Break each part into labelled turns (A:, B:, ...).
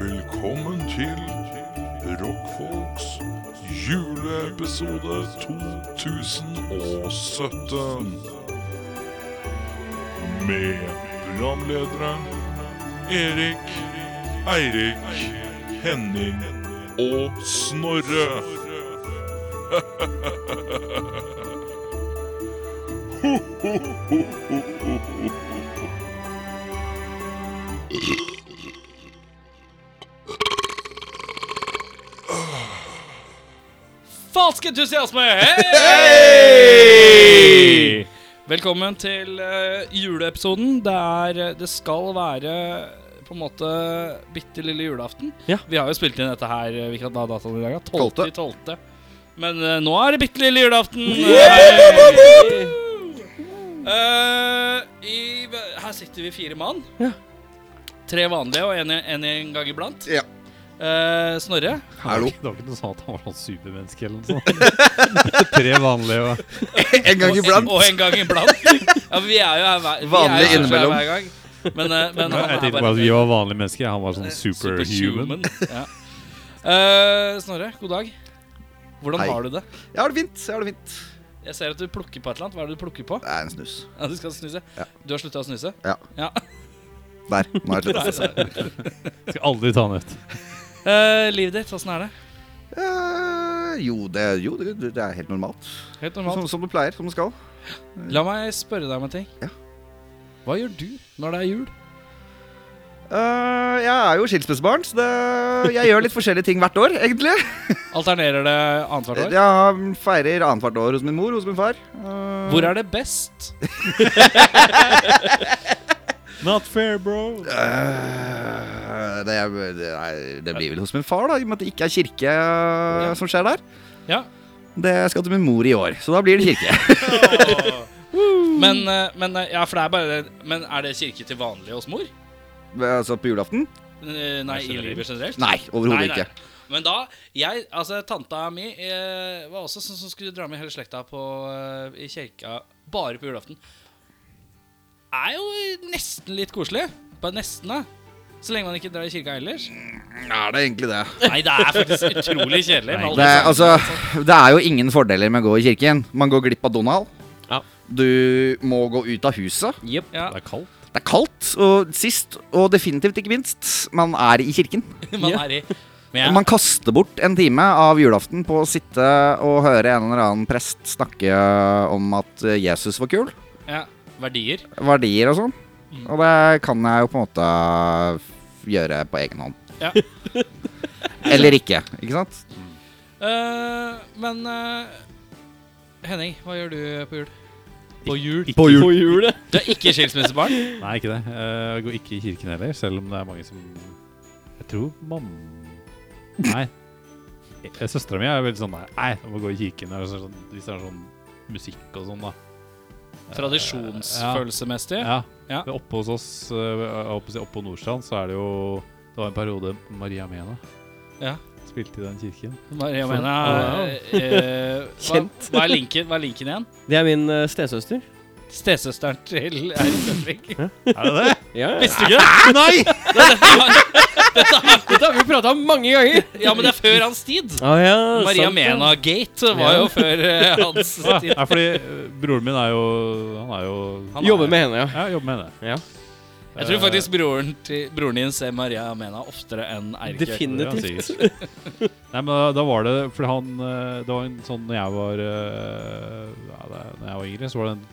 A: Velkommen til Rockfolks juleepisode 2017. Med programledere Erik, Eirik, Henning og Snorre.
B: Falsk entusiasme! Hei! Velkommen til eh, juleepisoden. Det, er, eh, det skal være eh, på en måte bitte lille julaften.
C: Ja.
B: Vi har jo spilt inn dette her eh, hvilken dag datoen i dag? er? 12.
C: Tolvte.
B: i 12. Men eh, nå er det bitte lille julaften. Eh, Hei! Eh, i, her sitter vi fire mann. Tre vanlige og en, en, en gang iblant.
D: Ja.
B: Eh, Snorre.
D: Hallo.
C: Det var ikke noe sånn at han var sånn supermenneske eller noe sånt. Tre vanlige og
D: En
B: Og
D: gang
B: en-
D: iblant.
B: Og en gang iblant. Ja, vi er jo her hver, vi
D: Vanlig
B: er jo her
D: innimellom.
B: Hver gang. Men, eh, men han
C: Jeg
B: er
C: tenkte bare at vi
B: bare
C: var vanlige mennesker. Han var sånn superhuman.
B: Ja. Eh, Snorre, god dag. Hvordan
D: Hei.
B: har du det?
D: Jeg har det fint. jeg har det fint
B: Jeg ser at du plukker på et eller annet. Hva er det du plukker på?
D: Det er en snus.
B: Ja, du skal snuse.
D: Ja.
B: Du har slutta å snuse?
D: Ja.
B: Ja.
D: Der. Nå er det slutt.
C: Skal aldri ta den ut.
B: Eh, livet ditt, åssen er det?
D: Eh, jo, det, jo det, det er helt normalt.
B: Helt
D: Som,
C: Sånn
B: normalt.
D: som du pleier. Som du skal.
B: La meg spørre deg om en ting.
D: Ja.
B: Hva gjør du når det er jul?
D: Eh, jeg er jo skilsmissebarn, så det, jeg gjør litt forskjellige ting hvert år, egentlig.
B: Alternerer det
D: Eh,
B: annethvert år?
D: Jeg feirer annethvert år hos min mor, hos min far. Eh,
B: Hvor er det best?
C: Not fair, bro.
D: eh, det, er, det, er, det blir vel hos min far, da, i og med at det ikke er kirke eh, som skjer der.
B: Ja.
D: Det skal til min mor i år, så da blir det kirke.
B: Men, eh, men, eh, ja, for det er, bare, men er det kirke til vanlig hos mor?
D: altså på julaften?
B: Eh, Nei, i livet generelt?
D: Nei, overhodet
B: Nei, nei.
D: ikke.
B: Men da jeg, altså Tanta mi eh, var også sånn som skulle dra med hele slekta på, eh, i kirka bare på julaften. Er jo nesten litt koselig. Bare nesten, da. Så lenge man ikke drar i kirka ellers.
D: Er det egentlig det?
B: Nei, det er faktisk utrolig kjedelig. med alle
D: Det er,
B: sånne-
D: altså, det er jo ingen fordeler med å gå i kirken. Man går glipp av Donald.
C: Ja.
D: Du må gå ut av huset.
C: Jepp.
B: Ja.
C: Det er kaldt.
D: Det er kaldt, og sist, og definitivt ikke minst, man er i kirken.
B: man er i. Men
D: Og
B: jeg,
D: man kaster bort en time av julaften på å sitte og høre en eller annen prest snakke eh, om at Jesus var kul.
B: ja, verdier.
D: Verdier og sånn.
B: Mm.
D: Og det kan jeg jo på en måte gjøre på egen hånd.
B: Ja.
D: Eller ikke, ikke sant?
B: Eh, men eh, Henning, hva gjør du på jul? På jul?
C: På
D: jul.
C: hjulet.
B: Du er ikke skilsmissebarn?
C: Nei, ikke det. Eh, Jeg går ikke i kirken heller, selv om det er mange som Jeg tror mamma Nei. Eh, Søstera mi er veldig sånn der, Nei, jeg må gå i kirken. eller sånn- Hvis det er sånn musikk og sånn, da.
B: Tradisjonsfølelsemessig?
C: Ja.
B: Ja.
C: Men Oppe hos oss, eh, jeg holdt på å si, oppe på Nordstrand, så er det jo Det var en periode Maria Mena
B: Ja.
C: spilte i den kirken.
B: Maria
E: For-
B: Mena eh, eh, hva,
E: Kjent.
B: hva, er linken, hva er linken igjen?
E: Det er min eh, stesøster.
B: Stesøsteren til Eirik Søntvik.
C: Er det det?
E: Ja,
B: Visste du ikke det?
D: Nei!
E: Dette har vi prata om mange ganger.
B: Ja, men det er før hans tid. Maria Mena-gate var jo før eh, hans
C: Ja,
B: tid.
C: nei, fordi eh, broren min er jo Han er jo
B: Han er-
E: Jobber med henne, ja.
C: Ja, jobber med henne.
E: Ja.
B: Jeg tror faktisk broren, til, broren din ser Maria Mena oftere enn Eirik. gjør.
C: Det er Eh, han
E: Definitivt.
C: sikkert. Nei, men da, da var det Fordi han eh, Det var en sånn Når jeg var eh, ja, da når jeg var yngre, så var det en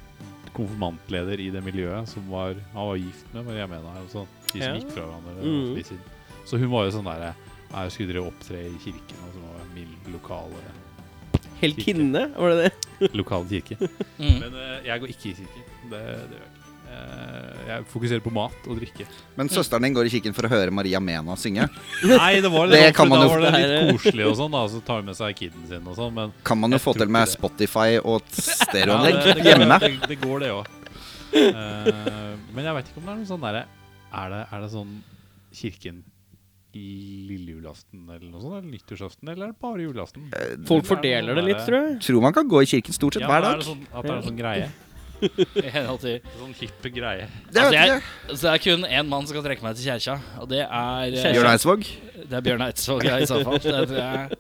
C: konfirmantleder i det miljøet som var Han var gift med Maria Mena. og sånn, De som
E: Ja.
C: gikk fra hverandre.
E: Mm.
C: og spiste inn. Så hun var jo sånn derre Nei, jeg skulle dere opptre i kirken, og så var det min lokale,
E: Heltinne, var det det?
C: lokale kirke.
B: Mm.
C: Men eh, jeg går ikke i kirken. Det, det gjør jeg ikke. Eh, jeg fokuserer på mat og drikke.
D: Men
B: Mm.
D: søsteren din går i kirken for å høre Maria Mena synge.
C: Nei, det var litt,
D: Det
C: sånn,
D: kan
C: for
D: man
C: da
D: jo-
C: var det
E: Nei,
C: litt
E: det-
C: koselig og sånn, da. Så tar hun med seg kiden sin og sånn, men
D: Kan man jo
C: Jeg
D: få
C: tror
D: til med
C: ikke det.
D: Spotify og et
C: Ja,
D: stereoanlegg
C: det, det,
D: hjemme.
C: Det, det går, det òg. men jeg veit ikke om det er noe sånn derre er, det- er det sånn kirken lille julaften eller noe sånt? Eller nyttårsaften? Eller er det bare julaften?
E: Folk fordeler det litt, tror jeg.
D: Tror man kan gå i kirken stort sett
C: Ja,
D: Eh, hver
C: men Er
D: dag.
C: det sånn, at det er en sånn greie?
B: i henhold til
C: Sånn hippe greie.
D: Det
B: Altså,
D: vet
B: jeg-
D: jeg.
B: Så det er kun én mann som kan trekke meg til kjerka, og det er eh,
D: Bjørn Eidsvåg.
B: Det er Bjørn Eidsvåg, ja, i så fall. Det tror jeg, jeg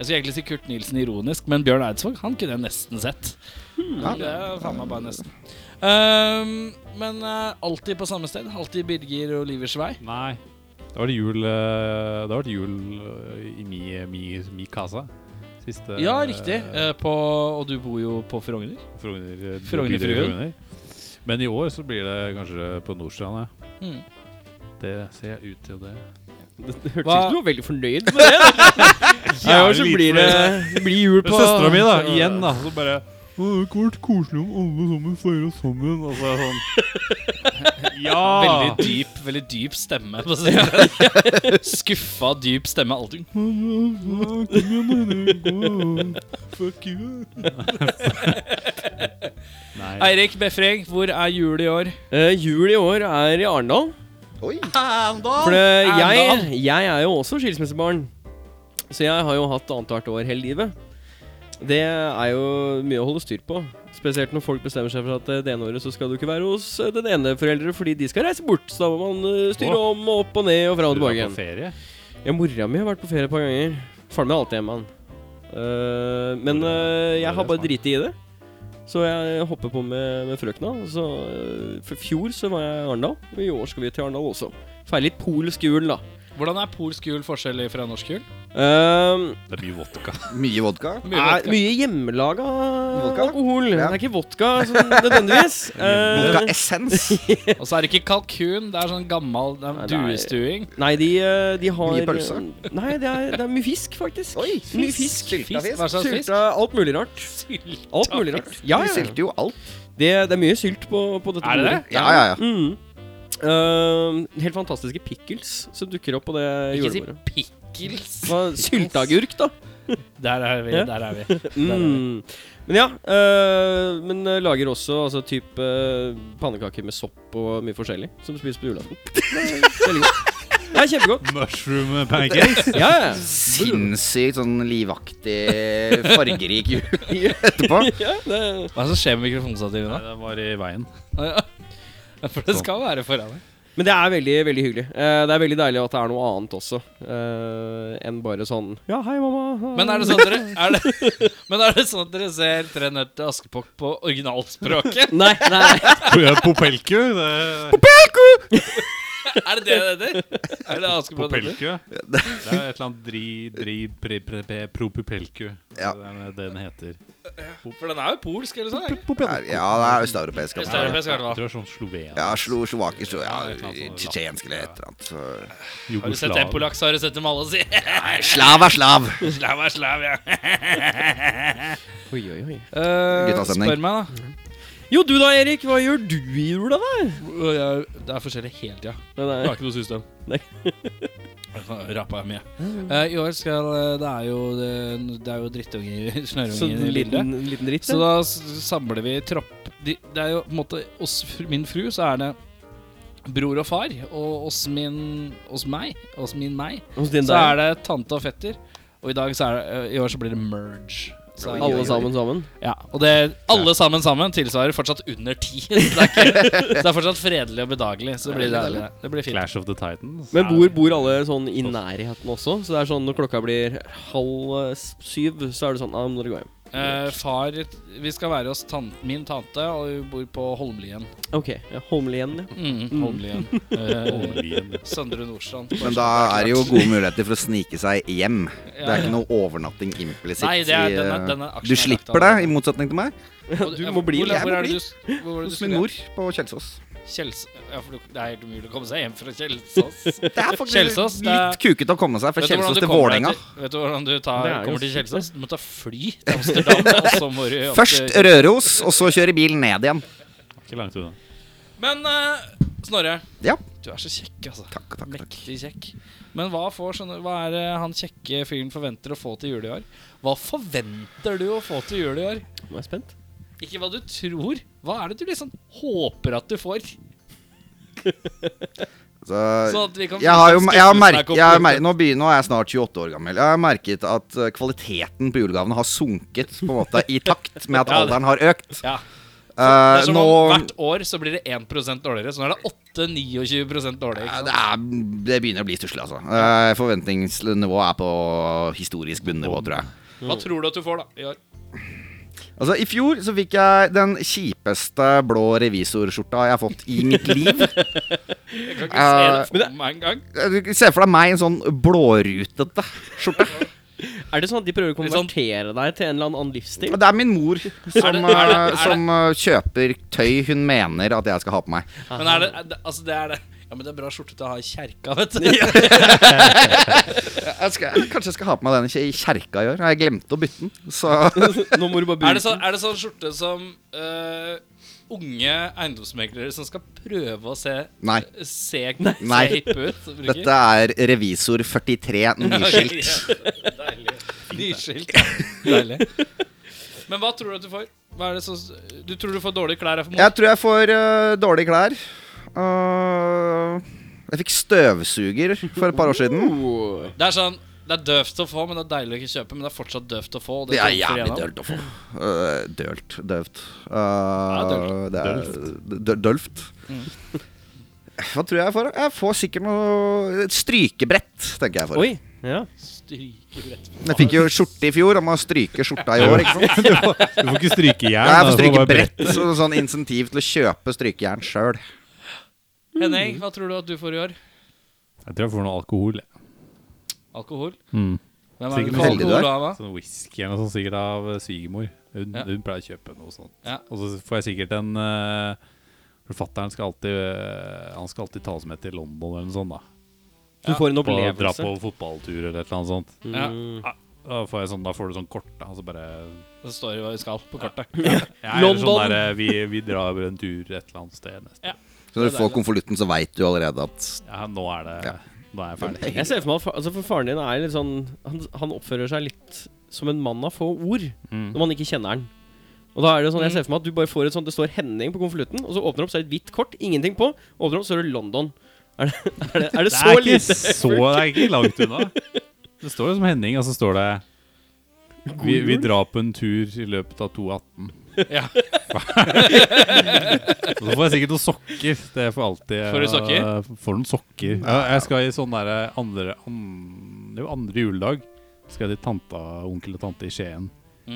B: skulle egentlig si Kurt Nilsen ironisk, men Bjørn Eidsvåg han kunne jeg nesten sett.
E: Hmm.
D: Ja.
B: Det er faen meg bare nesten. Ehm, men eh, alltid på samme sted. Alltid Birger og Livers vei.
C: Nei. Da var det jul eh, Da var det jul eh, i mi, mi, mi casa. Siste
B: Ja, riktig.
C: eh,
B: Eh, på, og du bor jo på Frogner.
C: Frogner,
B: Frogner
C: bydel i
B: Fruen.
C: Frogner. Men i år så blir det kanskje på Nordstrand, ja.
E: Hmm.
B: Mm.
C: Det ser ut til det.
E: Det hørtes ut
B: Hva-
E: som du var veldig fornøyd med det. Ja, og så
C: Jævlig
E: blir det blir jul på
C: Søstera mi, da.
E: så-
C: Igjen, da. Så bare «Å, Det hadde vært koselig om alle sammen feira sammen. Og så er jeg sånn Ja!
B: Veldig dyp veldig dyp stemme. på å si det. Skuffa, dyp stemme. Alltid.
C: Fuck you. Nei.
B: Eirik Befring, hvor er jul i år?
E: Eh, jul i år er i Arendal.
D: Oi.
E: For det, jeg,
B: Arendal.
E: jeg er jo også skilsmissebarn. Så jeg har jo hatt annethvert år hele livet. Det er jo mye å holde styr på. Spesielt når folk bestemmer seg for at eh, det ene året så skal du ikke være hos eh, den ene foreldre fordi de skal reise bort. Så da må man eh, styre
C: Å.
E: om og opp og ned og fram og
C: Du var
E: tilbake.
C: på ferie?
E: igjen. Ja, mora mi har vært på ferie et par ganger. Faren min er alltid hjemme, han. Eh, men
C: Mora-
E: eh, jeg
C: mora
E: har
C: er
E: bare
C: smart.
E: driti i det. Så jeg hopper på med, med frøkna. og Så eh, For fjor så var jeg i Arendal, og i år skal vi til Arendal også. Feire litt polsk jul, da.
B: Hvordan er polsk jul forskjellig fra norsk jul?
E: Eh,
C: Det er mye vodka.
D: Mye vodka.
B: Mye
E: er
B: vodka.
E: mye hjemmelaga
D: Vodka?
E: alkohol.
D: Ja.
E: Det er ikke vodka sånn nødvendigvis.
D: Vodka
E: Eh,
D: essens.
B: Og så er det ikke kalkun, det er sånn gammel det
E: Nei,
B: er
E: det er-
B: duestuing.
E: nei, de, eh, de har
D: Mye pølse?
E: Nei, det er, det er mye fisk, faktisk.
D: Oi,
E: Mye fisk.
D: Sylta fisk.
B: Hva slags sånn fisk?
E: Sylta, alt mulig rart.
B: Sild.
E: Alt mulig rart. Ja,
D: Vi
E: ja.
D: sylter jo alt.
E: Det, det er mye sylt på, på dette
B: Er det det?
D: Ja, ja, ja.
E: Mm. Eh, helt fantastiske pickles som dukker opp på det
B: Ikke si
E: julebordet.
B: pickles.
E: Hva- Sylteagurk, da.
B: Der er vi.
E: Ja.
B: der er vi
E: Mm. Men ja. eh, men eh, lager også altså, type eh, pannekaker med sopp og mye forskjellig som spises på julaften. Det er Veldig godt. Det er kjempegodt.
C: Mushroom pancakes.
E: Ja, ja.
D: Sinnssykt sånn livaktig, fargerik jul etterpå.
E: ja det,
B: Hva er det som skjer med mikrofonstativet
C: Nei,
B: nå?
C: den var i veien.
B: Å, Ja. For det skal være foran deg.
E: men det er veldig veldig hyggelig. Eh, det er veldig deilig at det er noe annet også eh, enn bare sånn Ja, hei, mamma.
B: Men er det sånn at dere er det, Men er det sånn at dere ser Tre nøtter til Askepott på originalspråket?
E: Nei, nei.
C: Popelku?
B: Er det det det heter? Er det Askepott heter?
C: Popelku? Det er et eller annet dri... dri... Pre, pre, pre, propupelku.
D: Ja.
C: Det er det den heter.
B: For den er jo polsk, eller sånn? er den ikke?
D: Ja, det er østeuropeisk.
B: Hvis
D: altså.
B: det er europeisk, i hvert
C: Jeg
B: fall.
C: tror det er sånn sloven.
D: Ja, slo, slovakisk, slo, ja,
C: Ja, det er sant.
D: tsjetsjensk eller et eller annet. Så.
B: Har du sett en polakk, så har du sett dem alle si
D: Slav er slav!
B: Slav er slav, ja.
E: Oi, oi, oi.
D: Guttastemning.
B: spør meg, da.
E: Jo, du da, Erik. Hva gjør du i jula, da?
B: Det er forskjellig hele tida.
E: Nei,
B: Jeg
E: nei.
B: har ikke noe system.
E: Nei.
B: Rappa jeg mye. Eh, I år skal eh, Det er jo, det, det er jo drittunger
E: Så
B: snørrunger
E: en
B: i bildet.
E: Sånn liten, liten dritt,
B: Så da s- samler vi tropp de, Det er jo på en måte oss, fr- min fru, så er det bror og far. Og oss min Oss meg. Oss min meg.
E: Hos din
B: Så
E: der.
B: er det tante og fetter. Og i dag så er det eh, I år så blir det merge. Så,
D: Oi, oi,
E: Alle
D: oi.
E: sammen sammen.
B: ja, og det alle sammen sammen tilsvarer fortsatt under ti. Så det er, ikke, så det er fortsatt fredelig og bedagelig. Så det blir deilig. det. Det blir fint.
C: Clash of the Titans.
E: Men bor, bor alle sånn i nærheten også? Så det er sånn når klokka blir halv eh, s- syv, så er det sånn ah, nå må dere gå hjem.
B: Eh, far Vi skal være hos tan min tante, og vi bor på Holmlien.
E: Ok. Ja, Holmlien, ja.
B: Mm, Holmlien. Eh,
C: Oljen.
B: Søndre Nordstrand.
D: Men da er det jo gode muligheter for å snike seg hjem. Det er ikke noe overnatting implisitt.
B: Nei, det er-
D: i,
B: den er-
D: eh,
B: den er aksjen er
D: du
B: lagt
D: slipper det,
B: av.
D: i motsetning til meg.
B: noe
E: Du må bli,
B: Hvor,
D: jeg
B: hvor
D: må
B: er det
D: bli.
B: du s- hvor var det du
D: Hos
B: skulle?
D: min mor på Kjelsås.
B: Kjels... Ja, for du- det er helt umulig å komme seg hjem fra Kjelsås.
D: Det er faktisk
B: Kjelsås, det er-
D: litt kukete å komme seg fra
B: Vet du hvordan
D: Kjelsås
B: du
D: til
B: kommer
D: Vålerenga.
B: deg til- Vet du hvordan du
E: Det er
B: tar,
E: jo
B: kommer til
E: sykt,
B: Kjelsås? Du må ta fly til Amsterdam, og så må du opp til-
D: Først Røros, og så kjøre bil ned igjen.
C: Ikke langt unna.
B: Men eh, Snorre,
D: Ja.
B: du er så kjekk, altså.
D: Takk, takk, takk.
B: Mektig kjekk. Men hva, får, sånne, hva er det han kjekke fyren forventer å få til jul i år? Hva forventer du å få til jul i år?
E: Nå er jeg spent.
B: Ikke hva du tror. Hva er det du liksom håper at du får?
D: Så
B: Sånn at vi kan
D: jeg har jo
B: skuffelsen
D: jeg har
B: er
D: merket, jeg har
B: komplett.
D: mer- nå, begynner, nå er jeg snart 28 år gammel. Jeg har merket at eh, kvaliteten på julegavene har sunket på en måte i takt med at
B: Ja, det-
D: alderen har økt.
B: Ja. Det er
D: Eh,
B: som
D: nå
B: om hvert år så blir det 1 dårligere. Så nå er det 8-29 dårligere.
D: Ja,
B: Ikke sant?
D: det, er, det begynner å bli stusslig, altså. Eh, Forventningsnivået er på historisk bunnivå, tror jeg.
B: Hva tror du at du får, da? I år?
D: Altså, I fjor så fikk jeg den kjipeste blå revisorskjorta jeg har fått i mitt liv.
B: Jeg kan ikke se det
D: Eh,
B: for meg engang.
D: Du Se for deg meg i en sånn blårutete skjorte.
E: Er det sånn at de prøver å
B: Litt sånn-
E: konvertere deg til en eller annen livsstil?
D: Og det er min mor
B: Er
D: som,
B: det- er det-
D: eh,
B: er det-
D: som eh, kjøper tøy hun mener at jeg skal ha på meg.
B: Men er det, er det Altså, det er det. Ja, men det er bra skjorte til å ha i kjerka, vet du.
D: Jeg skal, jeg- kanskje jeg skal ha på meg den i kjerka i år. Jeg glemte å bytte den. Så
E: Nå må du bare
B: Er
E: bruke
B: det, sånn, er det sånn skjorte som øh, unge eiendomsmeglere som skal prøve å se
D: nei.
B: Se, se
D: Nei.
B: hippe ut? bruker?
D: Dette er revisor 43 nyskilt.
B: Deilig. Nyskilt. Deilig. Men hva tror du at du får? Hva er det som, du tror du får dårlige klær av mor?
D: Jeg tror jeg får øh, dårlige klær. Øh, jeg fikk støvsuger for et par år siden.
E: Oh.
B: Det er sånn det er døvt å få, men det er deilig å ikke kjøpe. Men det er fortsatt døvt å få. og
D: Det er
B: trumfer
D: jævlig
B: igjennom.
D: dølt å få. Øh, dølt. Døvt. Øh, det er dø- Dølft. Hva tror jeg jeg får? Jeg får sikkert noe Et strykebrett, tenker jeg. For.
E: Oi. Ja.
B: Strykebrett.
D: Jeg fikk jo skjorte i fjor, og må stryke skjorta i år. Ikke sant?
C: Du får, du får ikke strykejern.
D: Jeg får
C: da, du bare
D: strykebrett, så sånn insentiv til å kjøpe strykejern sjøl.
B: Henning, hva tror du at du får i år?
C: Jeg tror jeg får noe alkohol. jeg.
B: Alkohol?
C: Mm.
B: Hvem er
C: Sikkert
B: det du får
D: heldig du er.
B: alkohol av? da?
C: Sånn whisky eller noe sånt sikkert av eh, svigermor. Hun,
B: Ja.
C: hun pleier å kjøpe noe sånt.
B: Ja.
C: Og så får jeg sikkert en eh, Forfatteren skal alltid eh, Han skal alltid ta oss med til London eller noe sånt. da
E: Du får en
C: på, Dra
E: opplevelse.
C: på fotballtur eller et eller annet sånt.
B: Ja,
C: Da får, jeg sånn, da får du sånn kort. da Og så bare
B: Det står jo hva vi skal på kartet.
C: ja, eller
E: London!
C: Sånn der, eh, vi, vi drar en tur et eller annet sted neste
D: Så når du får konvolutten, så veit du allerede at
C: ja, Nå er det
D: Ja.
C: Nå er jeg ferdig.
E: Jeg ser for meg at fa altså for faren din er litt sånn han, han oppfører seg litt som en mann av få ord når man ikke kjenner han. Og da er det sånn, jeg ser for meg at du bare får et sånt Det står Henning på konvolutten, og så åpner det opp, så er det et hvitt kort. Ingenting på. Åpner opp, så er det London. Er det, er det, er det så
C: det er
E: lite?
C: ikke så Det er ikke langt unna. Det står jo som Henning, og så står det vi, vi drar på en tur i løpet av 2.18.
B: Ja.
C: Og Så får jeg sikkert noen sokker. Det får alltid
B: Får du sokker?
C: eh, får noen sokker. Ja, jeg skal i sånn derre andre an, Det er jo andre juledag. Skal jeg til tanta, onkel og tante i Skien.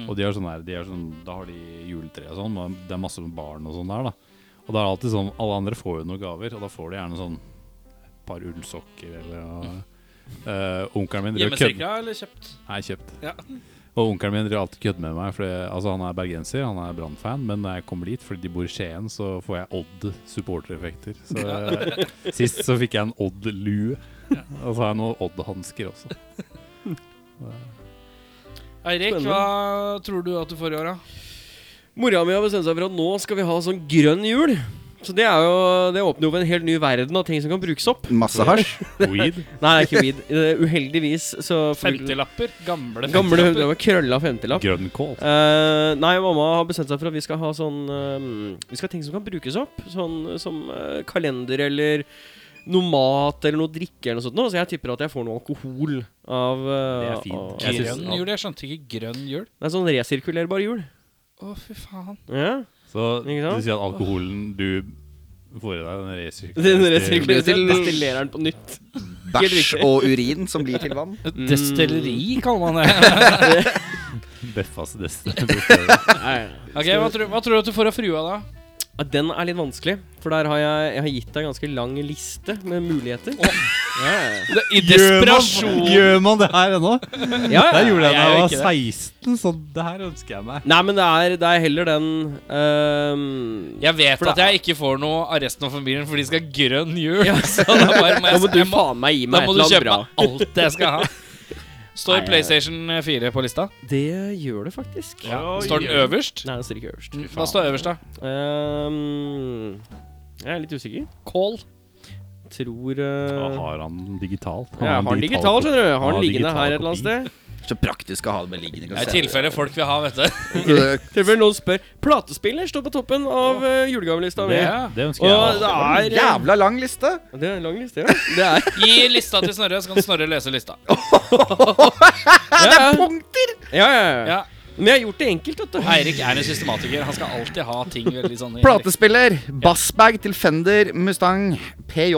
C: Og de har sånn her de har sånn, Da har de juletre og sånn. Og det er masse barn og sånn der, da. Og da er det alltid sånn Alle andre får jo noen gaver, og da får de gjerne sånn et par ullsokker eller noe.
E: Mm.
C: Eh, onkelen min driver og kødder-
B: Hjemmestrikka eller kjøpt?
C: Nei, kjøpt.
B: Ja.
C: Og onkelen min driver alltid kødder med meg. Fordi, altså, han er bergenser, han er Brann-fan, men når jeg kommer dit, fordi de bor i Skien, så får jeg Odd-supportereffekter. Så eh, Sist så fikk jeg en Odd-lue. Og så har jeg noen Odd-hansker også.
B: Eirik,
E: Spennende.
B: hva tror du at du får i år, da?
E: Mora mi har bestemt seg for at nå skal vi ha sånn grønn jul. Så det er jo Det åpner jo for en helt ny verden av ting som kan brukes opp.
D: Masse hasj.
C: Weed.
E: Nei, det er ikke weed. Eh, Uheldigvis så
B: 50-lapper? Gamle
E: Gamle
B: 50-lapper?
E: hundre med krølla femtilapp.
C: Grønnkål.
E: Eh, nei, mamma har bestemt seg for at vi skal ha sånn eh, Vi skal ha ting som kan brukes opp. Sånn eh, som eh, kalender eller noe mat eller noe drikke eller noe sånt. noe. Så jeg tipper at jeg får noe alkohol av eh,
C: Det er fint.
E: av-
C: Jeg synes-
B: Grønn jul? Jeg skjønte ikke grønn jul.
E: Det er sånn resirkulerbar jul.
B: Å, fy faen.
E: Ja.
C: Så du
E: Ikke sant?
C: sier at alkoholen du får i deg, den resirkulerer
E: Den resirkulerer
D: til-
E: destillerer den på nytt.
D: Bæsj og urin som blir til vann.
E: Mm.
B: Destilleri kaller man det.
C: Beffas dest- destillerer.
B: Ok, Hva tror, hva tror du at du får av frua, da?
E: Ja, Den er litt vanskelig, for der har jeg, jeg har gitt deg en ganske lang liste med muligheter. Ja.
B: I
C: Gjør man- Gjør man det her ennå?
E: Ja,
C: Det gjorde
E: ja,
C: jeg da
E: gjør
C: jeg var
E: ikke det.
C: 16, så det her ønsker jeg meg.
E: Nei, men det er, det er heller den ehm,
B: Jeg vet
E: For det
B: at jeg ikke får noe av resten av familien, for de skal ha grønn jul. Så da, bare må
E: Da
B: jeg,
E: må du
B: jeg må,
E: faen meg gi
B: da
E: meg et
B: må du
E: eller annet
B: kjøpe
E: bra.
B: alt jeg skal ha.
E: Nei,
B: Står
E: jeg-
B: PlayStation 4 på lista?
E: Det gjør det faktisk.
B: Står den øverst?
E: Nei, det står ikke øverst.
B: Hva står øverst, da?
E: Mm. Ehm, jeg er litt usikker.
B: Kål.
E: Tror eh,
C: Da har han den digitalt.
E: ja, Jeg har den digital, skjønner du. Jeg Har
C: Ja,
E: den liggende
C: digital
E: her et eller annet
C: kopi.
E: sted.
D: Så praktisk å ha det med liggende.
B: Det er i tilfelle folk vil ha, vet du.
D: tilfelle
E: Tilfelle noen spør. Platespiller står på toppen av eh, julegavelista mi.
C: Det, det ønsker jeg.
E: Og
C: meg.
E: det er
D: Jævla lang liste!
E: Det er en lang liste, ja. Det er,
B: Gi lista til Snorre, så kan Snorre lese lista.
E: ja, ja.
D: Punkter!
E: ja, ja, ja.
B: Ja.
E: Men jeg har gjort det enkelt, vet du.
B: Eirik er en systematiker. Han skal alltid ha ting veldig sånn i-
D: Platespiller, bassbag til Fender Mustang PJ.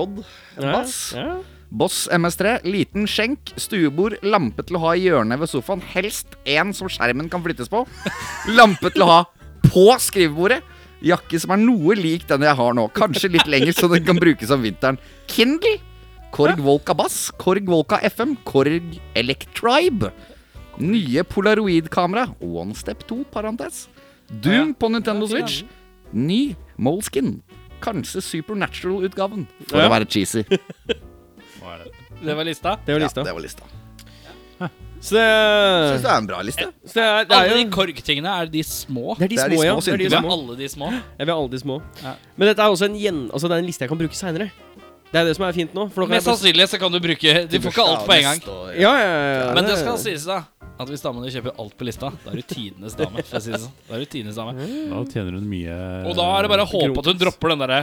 E: Ja,
D: Bass.
E: Ja.
D: Boss MS3, liten skjenk, stuebord, lampe til å ha i hjørnet ved sofaen, helst en som skjermen kan flyttes på, lampe til å ha på skrivebordet, jakke som er noe lik den jeg har nå, kanskje litt lenger så den kan brukes om vinteren, Kindle, Korg Volka Bass, Korg Volka FM, Korg Electribe, nye Polaroid-kamera, One Step 2, parentes, Doom på Nintendo
B: Ja, fin,
D: Switch, ny Moleskin, kanskje Supernatural-utgaven, for
E: Ja.
D: å være cheesy.
C: Hva er det?
B: Det var lista.
E: Det var lista.
D: Ja, det var lista.
E: Så det,
D: Syns det er en bra liste.
E: så det, er, det er
B: Alle
E: jo
B: de korktingene er de små.
E: det er de
D: Det er de
E: små, ja.
D: små
E: Det er de
B: Vi har
E: små.
B: alle de små.
E: Jeg vil ha alle de små.
B: Ja.
E: Men dette er også en gjen... Altså, det er en liste jeg kan bruke seinere. Det er det som er fint nå. For da
B: Mest
E: kan jeg plutselig-
B: sannsynlig så kan du bruke Du får ikke alt på en gang.
E: ja, ja, ja, ja,
B: Men det skal sies, da. At hvis damene kjøper alt på lista, da er du tidenes dame. For å si det sånn. Da er du tidenes dame.
C: Da tjener hun mye
B: Og da er det bare å håpe
E: Grot.
B: at hun dropper den derre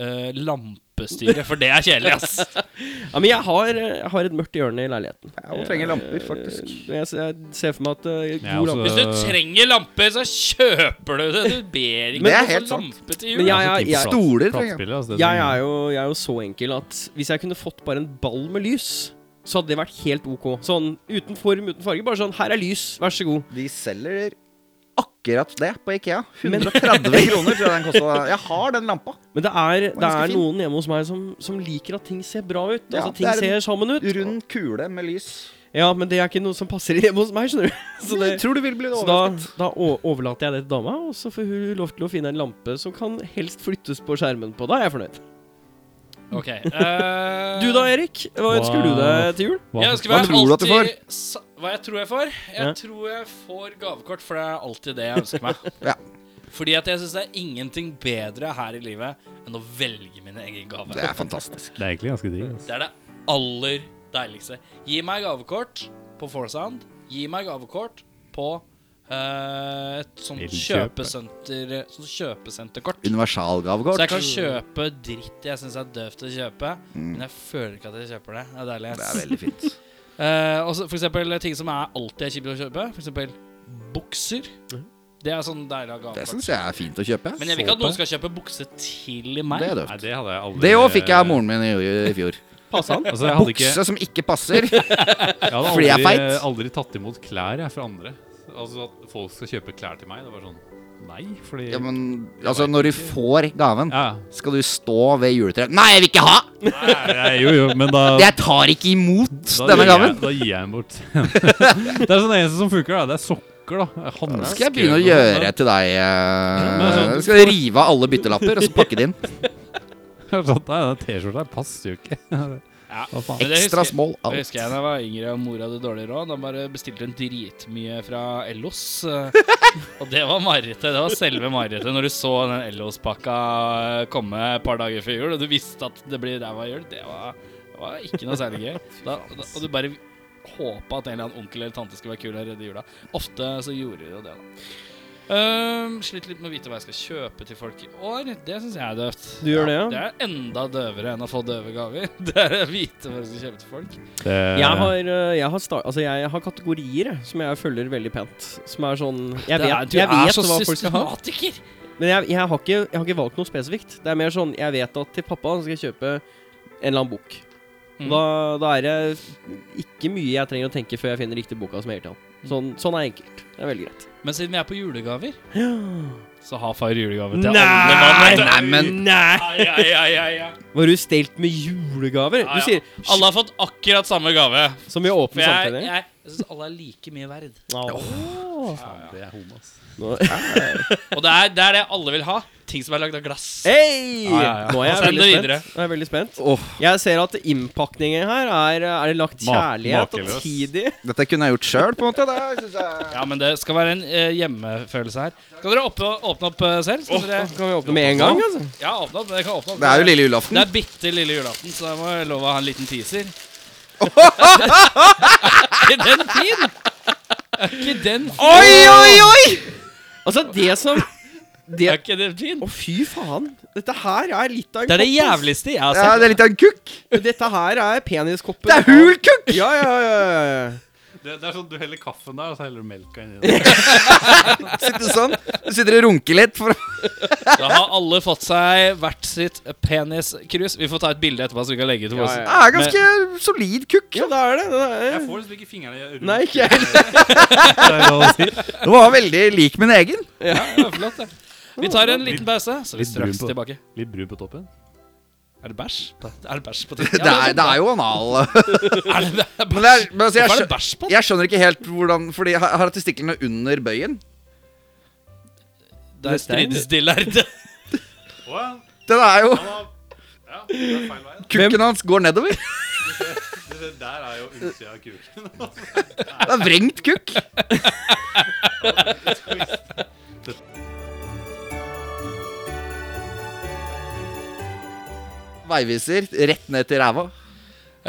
B: eh, lampestyret, for det er kjedelig, ass.
E: ja, Men jeg har, jeg har et mørkt hjørne i leiligheten.
D: Hun trenger lamper, faktisk.
E: Eh, Jeg, ser- jeg ser for meg at eh, god
C: Ja, altså-
E: lampe
B: Hvis du trenger lamper, så kjøper du det. Du ber ikke
D: Det
B: om
D: er
B: å få
D: helt sant.
B: lampe til jul.
E: Men jeg,
C: Jeg
E: jeg, jeg,
D: Stoler, trenger jeg.
C: Platespillet, altså. Det
E: jeg,
C: som-
E: er jo, jeg er jo så enkel at hvis jeg kunne fått bare en ball med lys, så hadde det vært helt OK. Sånn uten form, uten farge. Bare sånn Her er lys, vær så god.
D: De selger akkurat det på Ikea. 130 kroner tror jeg den kosta. Jeg har den lampa.
E: Men det er, det
D: ganske
E: er
D: fin.
E: noen hjemme hos meg som, som liker at ting ser bra ut.
D: Ja,
E: altså ting
D: det er en
E: ser sammen ut.
D: Rund kule med lys.
E: Ja, men det er ikke noe som passer hjemme hos meg, skjønner du. Så, det,
D: Jeg tror du vil bli
E: så da,
D: overrasket.
E: da o- overlater jeg det til dama, og så får hun lov til å finne en lampe som kan helst flyttes på skjermen på. Da er jeg fornøyd.
B: Ok, eh,
E: Du da, Erik? Hva
C: Hva-
E: ønsker du deg til jul?
C: Hva-
B: Jeg ønsker
D: hva
B: meg
D: tror du at du
B: alltid sa- Hva jeg tror jeg får? Jeg
E: Ja.
B: tror jeg får gavekort, for det er alltid det jeg ønsker meg.
D: Ja.
B: Fordi at jeg syns det er ingenting bedre her i livet enn å velge min egen gave.
D: Det er fantastisk.
C: Det er egentlig ganske digg. Altså.
B: Det er det aller deiligste. Gi meg gavekort på Forsound. Gi meg gavekort på eh, et sånt
C: Bilkjøp.
B: kjøpesenter eh, Sånt kjøpesenterkort. Så jeg
D: Universalgavekort.
B: kan kjøpe dritt jeg syns er døvt å kjøpe, men jeg føler ikke at jeg kjøper det. Det er deilig.
D: Mm. Det
B: ass.
D: er veldig fint.
B: Eh, og så for eksempel ting som er alltid er kjipt å kjøpe. For eksempel bukser. Det er sånn deilig å ha
D: Det
B: gavekort.
D: syns jeg er fint å kjøpe.
B: Men jeg vil ikke at noen skal kjøpe bukse til meg.
D: Det er
C: Nei,
D: døvt.
C: det hadde jeg aldri
D: Det òg fikk jeg av moren min i, i fjor.
E: Passa han?
C: Altså, jeg hadde ikke,
D: Bukse som ikke passer.
C: jeg hadde
D: fordi jeg er
C: aldri,
D: feit.
C: aldri tatt imot klær jeg fra andre. Altså At folk skal kjøpe klær til meg. Det var sånn Nei, fordi
D: Ja, men altså, når du får gaven,
C: ja.
D: skal du stå ved juletreet Nei, jeg vil ikke ha!
C: Nei, nei, jo, jo, men da
D: Jeg tar ikke imot
C: da
D: denne
C: gir jeg-
D: gaven.
C: Da gir jeg den bort. det er sånn eneste som funker, da. Det er sokker, da. Hansker.
D: Det skal jeg begynne å gjøre til deg.
C: men
D: eh,
C: sånn-
D: Jeg skal rive av alle byttelapper og så pakke det inn.
C: Sånn, nei, den T-skjorta her passer jo ikke.
B: Ja.
C: Hva faen?
B: Men det
D: Ekstra
B: husker-
D: small
B: Jeg
D: alt.
B: husker jeg da jeg var yngre og mora hadde dårlig råd. Da bare bestilte hun dritmye fra Ellos. eh, Og det var marerittet. Det var selve marerittet når du så den Ellos-pakka eh, komme et par dager før jul, og du visste at det blir ræva jul. Det var, det var ikke noe særlig gøy. Da, da, og du bare håpa at en eller annen onkel eller tante skulle være kul og redde jula. Ofte så gjorde de jo det, da. Ehm, slitt litt med å vite hva jeg skal kjøpe til folk i år. Det syns jeg er døvt.
E: Du gjør det, ja?
B: Det er enda døvere enn å få døve gaver. Det er å vite hva jeg skal kjøpe til folk.
C: Det-
E: Jeg har, eh, jeg, har sta- altså jeg har kategorier jeg, som jeg følger veldig pent. Som er sånn Jeg
B: Det
E: vet,
B: er- du
E: jeg
B: er
E: vet
B: så
E: hva folk skal ha.
B: systematiker.
E: Men jeg, jeg, har ikke, jeg har ikke valgt noe spesifikt. Det er mer sånn Jeg vet at til pappa skal jeg kjøpe en eller annen bok.
B: Mm.
E: Da, da er det ikke mye jeg trenger å tenke før jeg finner riktig boka som jeg gir til han.
B: Mm.
E: Sånn, sånn er enkelt. Det er veldig greit.
B: Men siden vi er på julegaver, så har far julegave til alle mann.
E: Nei,
B: vet du.
D: Nei, men-
E: nei.
B: Ja, ja, ja, ja.
E: Var du stelt med julegaver?
B: Ja,
E: Du
B: ja.
E: sier
B: Alle har fått akkurat samme gave.
E: som i
B: For
E: åpen
B: jeg,
E: samtale.
B: jeg, jeg syns alle er like mye verd.
C: Faen, Det er homo, ass.
E: Nå-
B: Og det er det, er det alle vil ha. Ting som er lagd av glass.
E: Eh? Hei!
B: Ja, ja, ja.
E: Nå er jeg
B: Send det
E: veldig
B: videre.
E: spent. Nå er jeg veldig spent.
D: Åh,
E: Jeg ser at innpakningen her er, er det lagt
C: Ma-
E: kjærlighet og
C: makeløs.
E: tid i.
D: dette kunne jeg gjort sjøl, på en måte. Det synes jeg
B: Ja, men det skal være en eh, hjemmefølelse her. Skal dere åpne, åpne opp eh, selv? Skal dere,
E: Kan vi åpne med en gang, altså?
B: ja, åpne opp. Dere kan åpne opp.
D: Det er jo lille julaften.
B: Det er bitte lille julaften, så jeg må love å ha en liten teaser. er ikke den fin? Er ikke den fin?
D: Oi, oi, oi!
E: Altså, det som det,
B: Er ikke den fin?
E: Å, fy faen! Dette her er litt av en
B: Det er det
E: kopp, ass.
B: jævligste jeg har
D: Ja,
B: sett.
D: det er litt av en kukk.
E: Dette her er peniskopper.
D: Det er hul kukk!
E: Ja, ja, ja, ja, ja.
C: Det, det er sånn du heller kaffen der, og så heller du melka inni der.
D: Sitter sånn. Du sitter og runker litt. For...
B: Da har alle fått seg hvert sitt peniskrus. Vi får ta et bilde etterpå, så vi kan legge ut på
E: Ja,
B: oss.
E: ja,
D: Det er ganske solid kukk.
E: Ja, det er det. det
C: Jeg
E: er.
C: får liksom ikke fingrene i rundt.
E: Nei, ikke jeg heller.
C: det er lov å si.
D: Den var veldig lik min egen.
B: Ja, det var flott, det. Vi tar en liten pause, så er vi
C: Litt brun
B: straks
C: på-
B: tilbake.
C: Litt brun på toppen.
B: Er det bæsj? Er det bæsj på tissen?
D: Det er, det er jo anal.
B: Er det, det er bæsj?
D: Men det er, men
B: Hvorfor er
D: altså, jeg,
B: det sånn? bæsj på
D: skjø- jeg skjønner ikke helt hvordan Fordi har har jeg testiklene under bøyen?
B: Det er stridestillerd.
C: Well,
D: Den er jo
C: ja, det er feil vei.
D: Kukken hans går nedover.
C: Det der er jo utsida av kuken.
D: Det er vrengt kukk. Veiviser rett ned til ræva.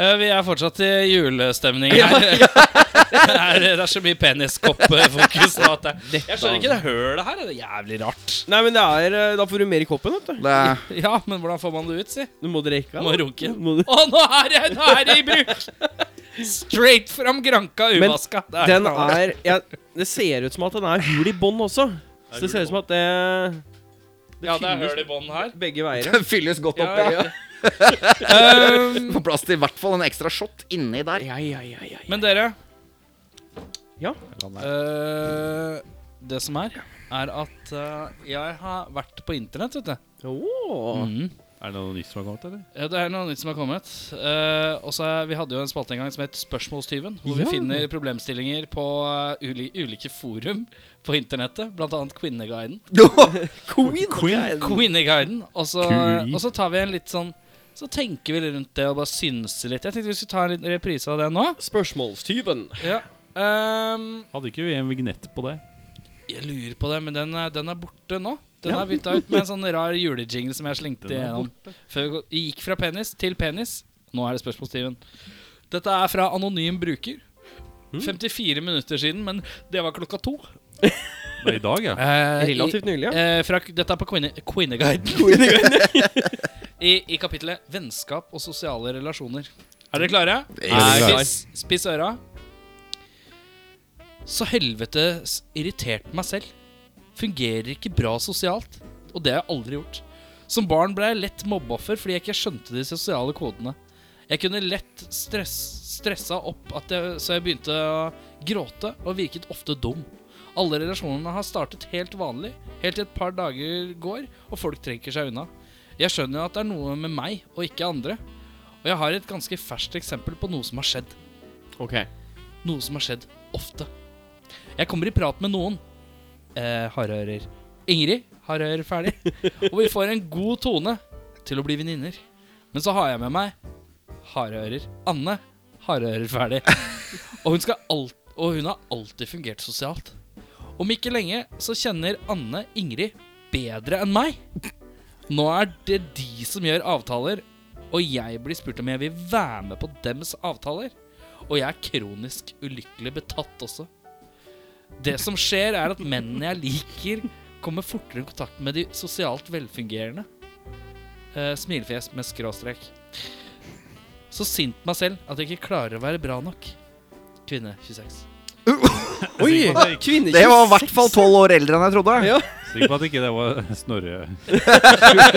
B: Eh, Vi er fortsatt i julestemning her. det, er, det er så mye peniskoppfokus. nå at det- Jeg skjønner ikke det hølet her. Det er jævlig rart.
E: Nei, men det er eh, Da får du mer i koppen, vet du.
D: Det er,
B: Ja, men hvordan får man det ut, si?
E: Du må drikke.
B: Må runke.
E: Må du-
B: Å, nå er det, nå er det i bruk! Straight fram granka
E: Men
B: uvaska. Det
E: Den
B: knall.
E: er ja, Det ser ut som at den er hul i bånn også. Så det ser ut som at det
B: Ja, det er
E: fylles
B: høl i bånn her.
E: begge veier.
D: den fylles godt opp. Ja,
B: Um,
D: På plass til i hvert fall en ekstra shot inni der.
E: Ja, ja, ja, ja.
B: men dere
E: Ja.
B: Eh, Det som er, er at eh, jeg har vært på internett, vet du.
E: Åh.
B: Mhm.
C: Er det noe nytt som har kommet, eller?
B: Ja, det er noe nytt som har kommet. Eh, og så er- Vi hadde jo en spalte en gang som het Spørsmålstyven. Hvor
E: Ja.
B: vi finner problemstillinger på eh, uli ulike forum på internettet. Blant annet Kvinneguiden.
E: Queen.
B: Kvinneguiden. Og så,
C: Kui.
B: og så tar vi en litt sånn Så tenker vi litt rundt det og bare synser litt. Jeg tenkte vi skulle ta en liten reprise av det nå.
E: Spørsmålstyven.
B: Ja. Ehm,
C: Hadde ikke vi en vignett på det?
B: jeg lurer på det, men den er, den er borte nå. Den er bytta ut med en sånn rar julejingle som jeg slengte
C: Den er
B: gjennom. Før vi gå- vi gikk fra penis til penis. Nå er det spørsmålstyven. Dette er fra anonym bruker. 54 minutter siden, men det var klokka to.
C: Nei, i dag, ja.
B: Eh, i-
E: Relativt nylig, ja.
B: Eh, fra, dette er på Queene- Queeneguiden. I, I kapitlet 'Vennskap og sosiale relasjoner'. Er dere klare?
C: Veldig klar.
B: Spiss, spiss øra. Så helvetes irritert meg selv. Fungerer ikke bra sosialt. Og det har jeg aldri gjort. Som barn ble jeg lett mobbeoffer fordi jeg ikke skjønte de sosiale kodene. Jeg kunne lett stress, stressa opp at jeg, så jeg begynte å gråte og virket ofte dum. Alle relasjonene har startet helt vanlig, helt til et par dager går, og folk trekker seg unna. Jeg skjønner jo at det er noe med meg og ikke andre, og jeg har et ganske ferskt eksempel på noe som har skjedd.
E: eh, Ok.
B: Noe som har skjedd ofte. Jeg kommer i prat med noen. Eh, hardører. Ingrid hardører ferdig. Og vi får en god tone til å bli venninner. Men så har jeg med meg hardører Anne hardører ferdig. Og hun, skal alt, og hun har alltid fungert sosialt. Om ikke lenge så kjenner Anne Ingrid bedre enn meg. Nå er det de som gjør avtaler, og jeg blir spurt om jeg vil være med på dems avtaler. Og jeg er kronisk ulykkelig betatt også. Det som skjer, er at mennene jeg liker, kommer fortere i kontakt med de sosialt velfungerende. Eh, smilefjes med skråstrek. Så sint på meg selv at jeg ikke klarer å være bra nok. Kvinne 26.
E: Oi!
C: Sikker på at det ikke-
E: Kvinnekyss.
D: Det var i hvert fall tolv år eldre enn jeg trodde.
E: Ja.
C: Sikker på at ikke det var Snorre.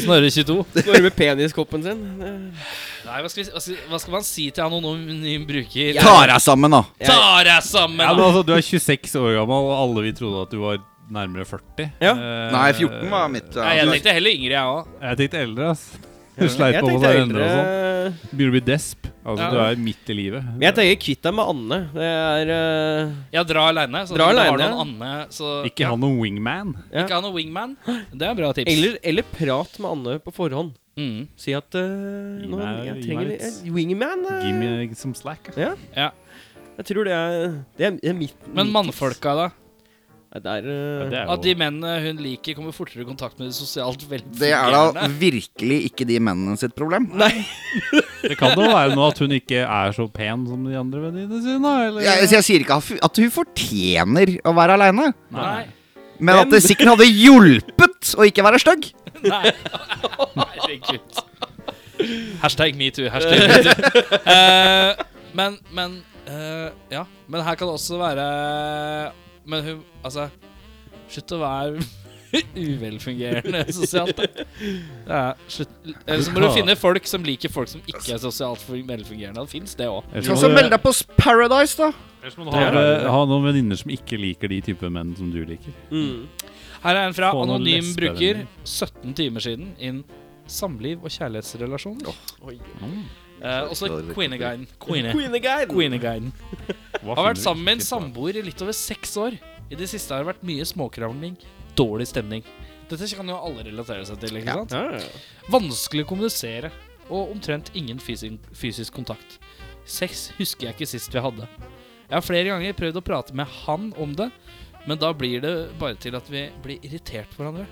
B: Snorre 22.
E: Går med peniskoppen sin. Eh,
B: Nei, hva skal, vi, hva, skal, hva skal man si til anonym bruker?
D: Tar deg sammen, da.
E: Jeg-
B: Ta deg sammen!
C: Ja, men
B: da!
C: altså, du er 26 år gammel, og alle vi trodde at du var nærmere 40.
E: Ja.
C: Eh,
D: Nei, 14 var mitt.
B: Nei, jeg
D: Ja.
B: tenkte heller Ingrid, jeg òg.
C: Jeg tenkte eldre, ass. Du sleit på med deg endre og sånn. Begynner å bli desp. Altså,
B: Ja.
C: du er midt i livet.
E: eh, Men jeg tenker kvitt deg med Anne. Det er eh,
B: Jeg drar aleine. Så
E: Dra
B: du har
E: alene.
B: noen Anne, så
C: Ikke ha noen wingman.
E: ja.
B: Ikke ha noen wingman. Det er bra tips.
E: eller, eller prat med Anne på forhånd.
B: Mm.
E: Si at eh,
C: Gi
E: nå,
C: meg-
E: jeg
C: gi
E: trenger
C: meg litt.
E: litt Wingman. eh,
C: Give me some slack.
E: Ja.
B: Ja.
E: Jeg tror det er Det er, det er mitt
B: Men
E: mitt-
B: mannfolka, da?
E: Nei, det er, eh,
C: Ja, det
B: At de
C: er jo
B: mennene hun liker, kommer fortere i kontakt med de sosialt
D: Det er da
B: velfungerende?
D: virkelig ikke de mennene sitt problem.
E: Nei.
C: Det kan da være noe at hun ikke er så pen som de andre venninnene sine, da, eller?
D: Jeg, jeg sier ikke at fu- at hun fortjener å være aleine,
B: Nei.
D: men at det sikkert hadde hjulpet å ikke være stygg.
B: Nei. Herregud. Hashtag metoo. Hashtag metoo. Eh, Men, men eh, Ja. Men her kan det også være Men hun Altså, slutt å være uvelfungerende sosialt, da. Ja, slutt. Eller så må du finne folk som liker folk som ikke er sosialt velfungerende. Det fins, det òg.
D: Ta så Meld deg på Paradise, da!
C: Ellers må du ha, ha noen venninner som ikke liker de type menn som du liker.
E: Mm.
B: Her er en fra
C: Få noen
B: anonym
C: lesber,
B: bruker
C: eller?
B: 17 timer siden innen samliv og kjærlighetsrelasjoner. Eh, også Queeneguiden. Queene.
E: Queeneguide.
B: Queeneguiden.
C: Hva
B: Har vært
C: finner du
B: sammen med en
C: ikke på?
B: samboer i litt over seks år. I det siste har det vært mye småkrangling, dårlig stemning. Dette kan jo alle relatere seg til. ikke sant?
E: Ja, ja, ja.
B: Vanskelig å kommunisere og omtrent ingen fysi- fysisk kontakt. Sex husker jeg ikke sist vi hadde. Jeg har flere ganger prøvd å prate med han om det, men da blir det bare til at vi blir irritert på hverandre.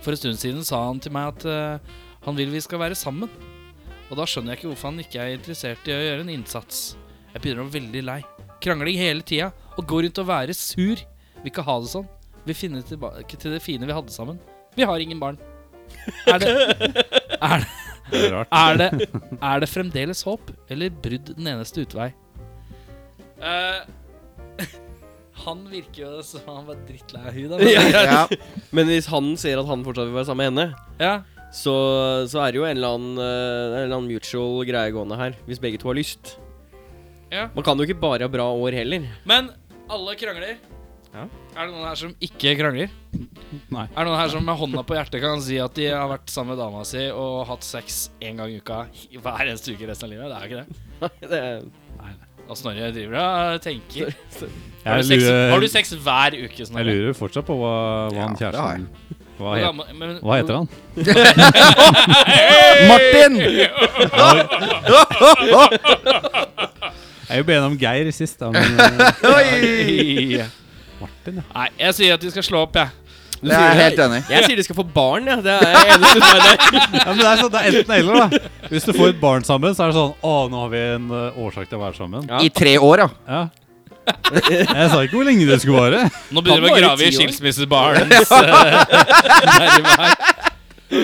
B: For en stund siden sa han til meg at eh, han vil vi skal være sammen. Og da skjønner jeg ikke hvorfor han ikke er interessert i å gjøre en innsats. Jeg begynner å bli veldig lei. Krangling hele tida. Og går rundt og være sur. Vil ikke ha det sånn. Vil finne tilbake til det fine vi hadde sammen. Vi har ingen barn. Er det, er det,
C: Det er rart.
B: er det, er det fremdeles håp, eller brudd den eneste utvei? Eh, han virker jo som han var drittlei av hun, da.
E: Ja.
D: Ja.
E: Men hvis han sier at han fortsatt vil være sammen med henne,
B: Ja.
E: så, så er det jo en eller, annen, eh, en eller annen mutual greie gående her. Hvis begge to har lyst.
B: Ja.
E: Man kan jo ikke bare ha bra år heller.
B: Men alle krangler.
C: Ja.
B: Er det noen her som ikke krangler?
C: Nei.
B: Er det noen her som med hånda på hjertet kan si at de har vært sammen med dama si og hatt sex én gang i uka i hver eneste uke resten av livet? Det er jo ikke det.
E: Det er
B: Og Snorre driver og tenker. Har du,
C: Jeg
B: sex, har du
C: lurer,
B: sex hver uke,
C: jeg
B: Snorre?
C: lurer fortsatt på hva,
D: Ja,
C: hva han
D: det har
C: kjæresten hva,
B: Hvor
C: het,
B: gammel- men-
C: hva heter han?
D: Martin!
C: Jeg er jo bedt om Geir sist, da. Men, eh,
D: Oi!
C: Martin, ja.
B: Nei, jeg sier at de skal slå opp, jeg.
E: Du
D: Jeg er
E: sier-
D: helt enig.
E: Jeg sier de skal få barn, ja. Det er jeg eneste som er der.
C: ja men det er sånn, det er enten eller, da. Hvis du får et barn sammen, så er det sånn Å, nå har vi en eh, årsak til å være sammen.
E: Ja.
D: I tre år, ja.
C: Ja. Jeg sa ikke hvor lenge det skulle vare.
B: Nå begynner vi
E: Han
B: å
E: var jo
B: grave i
E: ti år.
B: skilsmissebarens eh, derivær.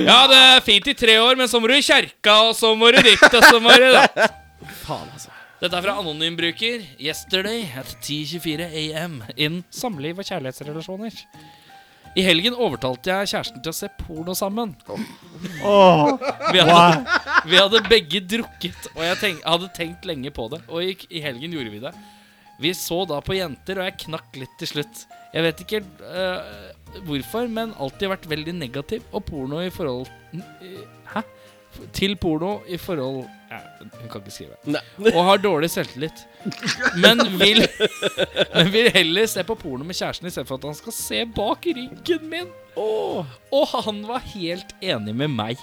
B: Ja, det er fint i tre år, men så må du i kjerka, og så må du dit, og så må du datt.
E: Faen, altså.
B: Dette er fra anonym bruker. Yesterday at 10.24 am in samliv og kjærlighetsrelasjoner. I helgen overtalte jeg kjæresten til å se porno sammen.
C: Åh,
B: Vi hadde,
C: hva?
B: vi hadde begge drukket, og jeg tenk, hadde tenkt lenge på det. Og i, i helgen gjorde vi det. Vi så da på jenter, og jeg knakk litt til slutt. Jeg vet ikke eh, hvorfor, men alltid vært veldig negativ og porno i forhold eh, Hæ? Til porno i forhold ja, Hun kan ikke skrive.
E: Nei.
B: Og har dårlig selvtillit. Men vil, men vil heller se på porno med kjæresten istedenfor at han skal se bak ryggen min. Og han var helt enig med meg.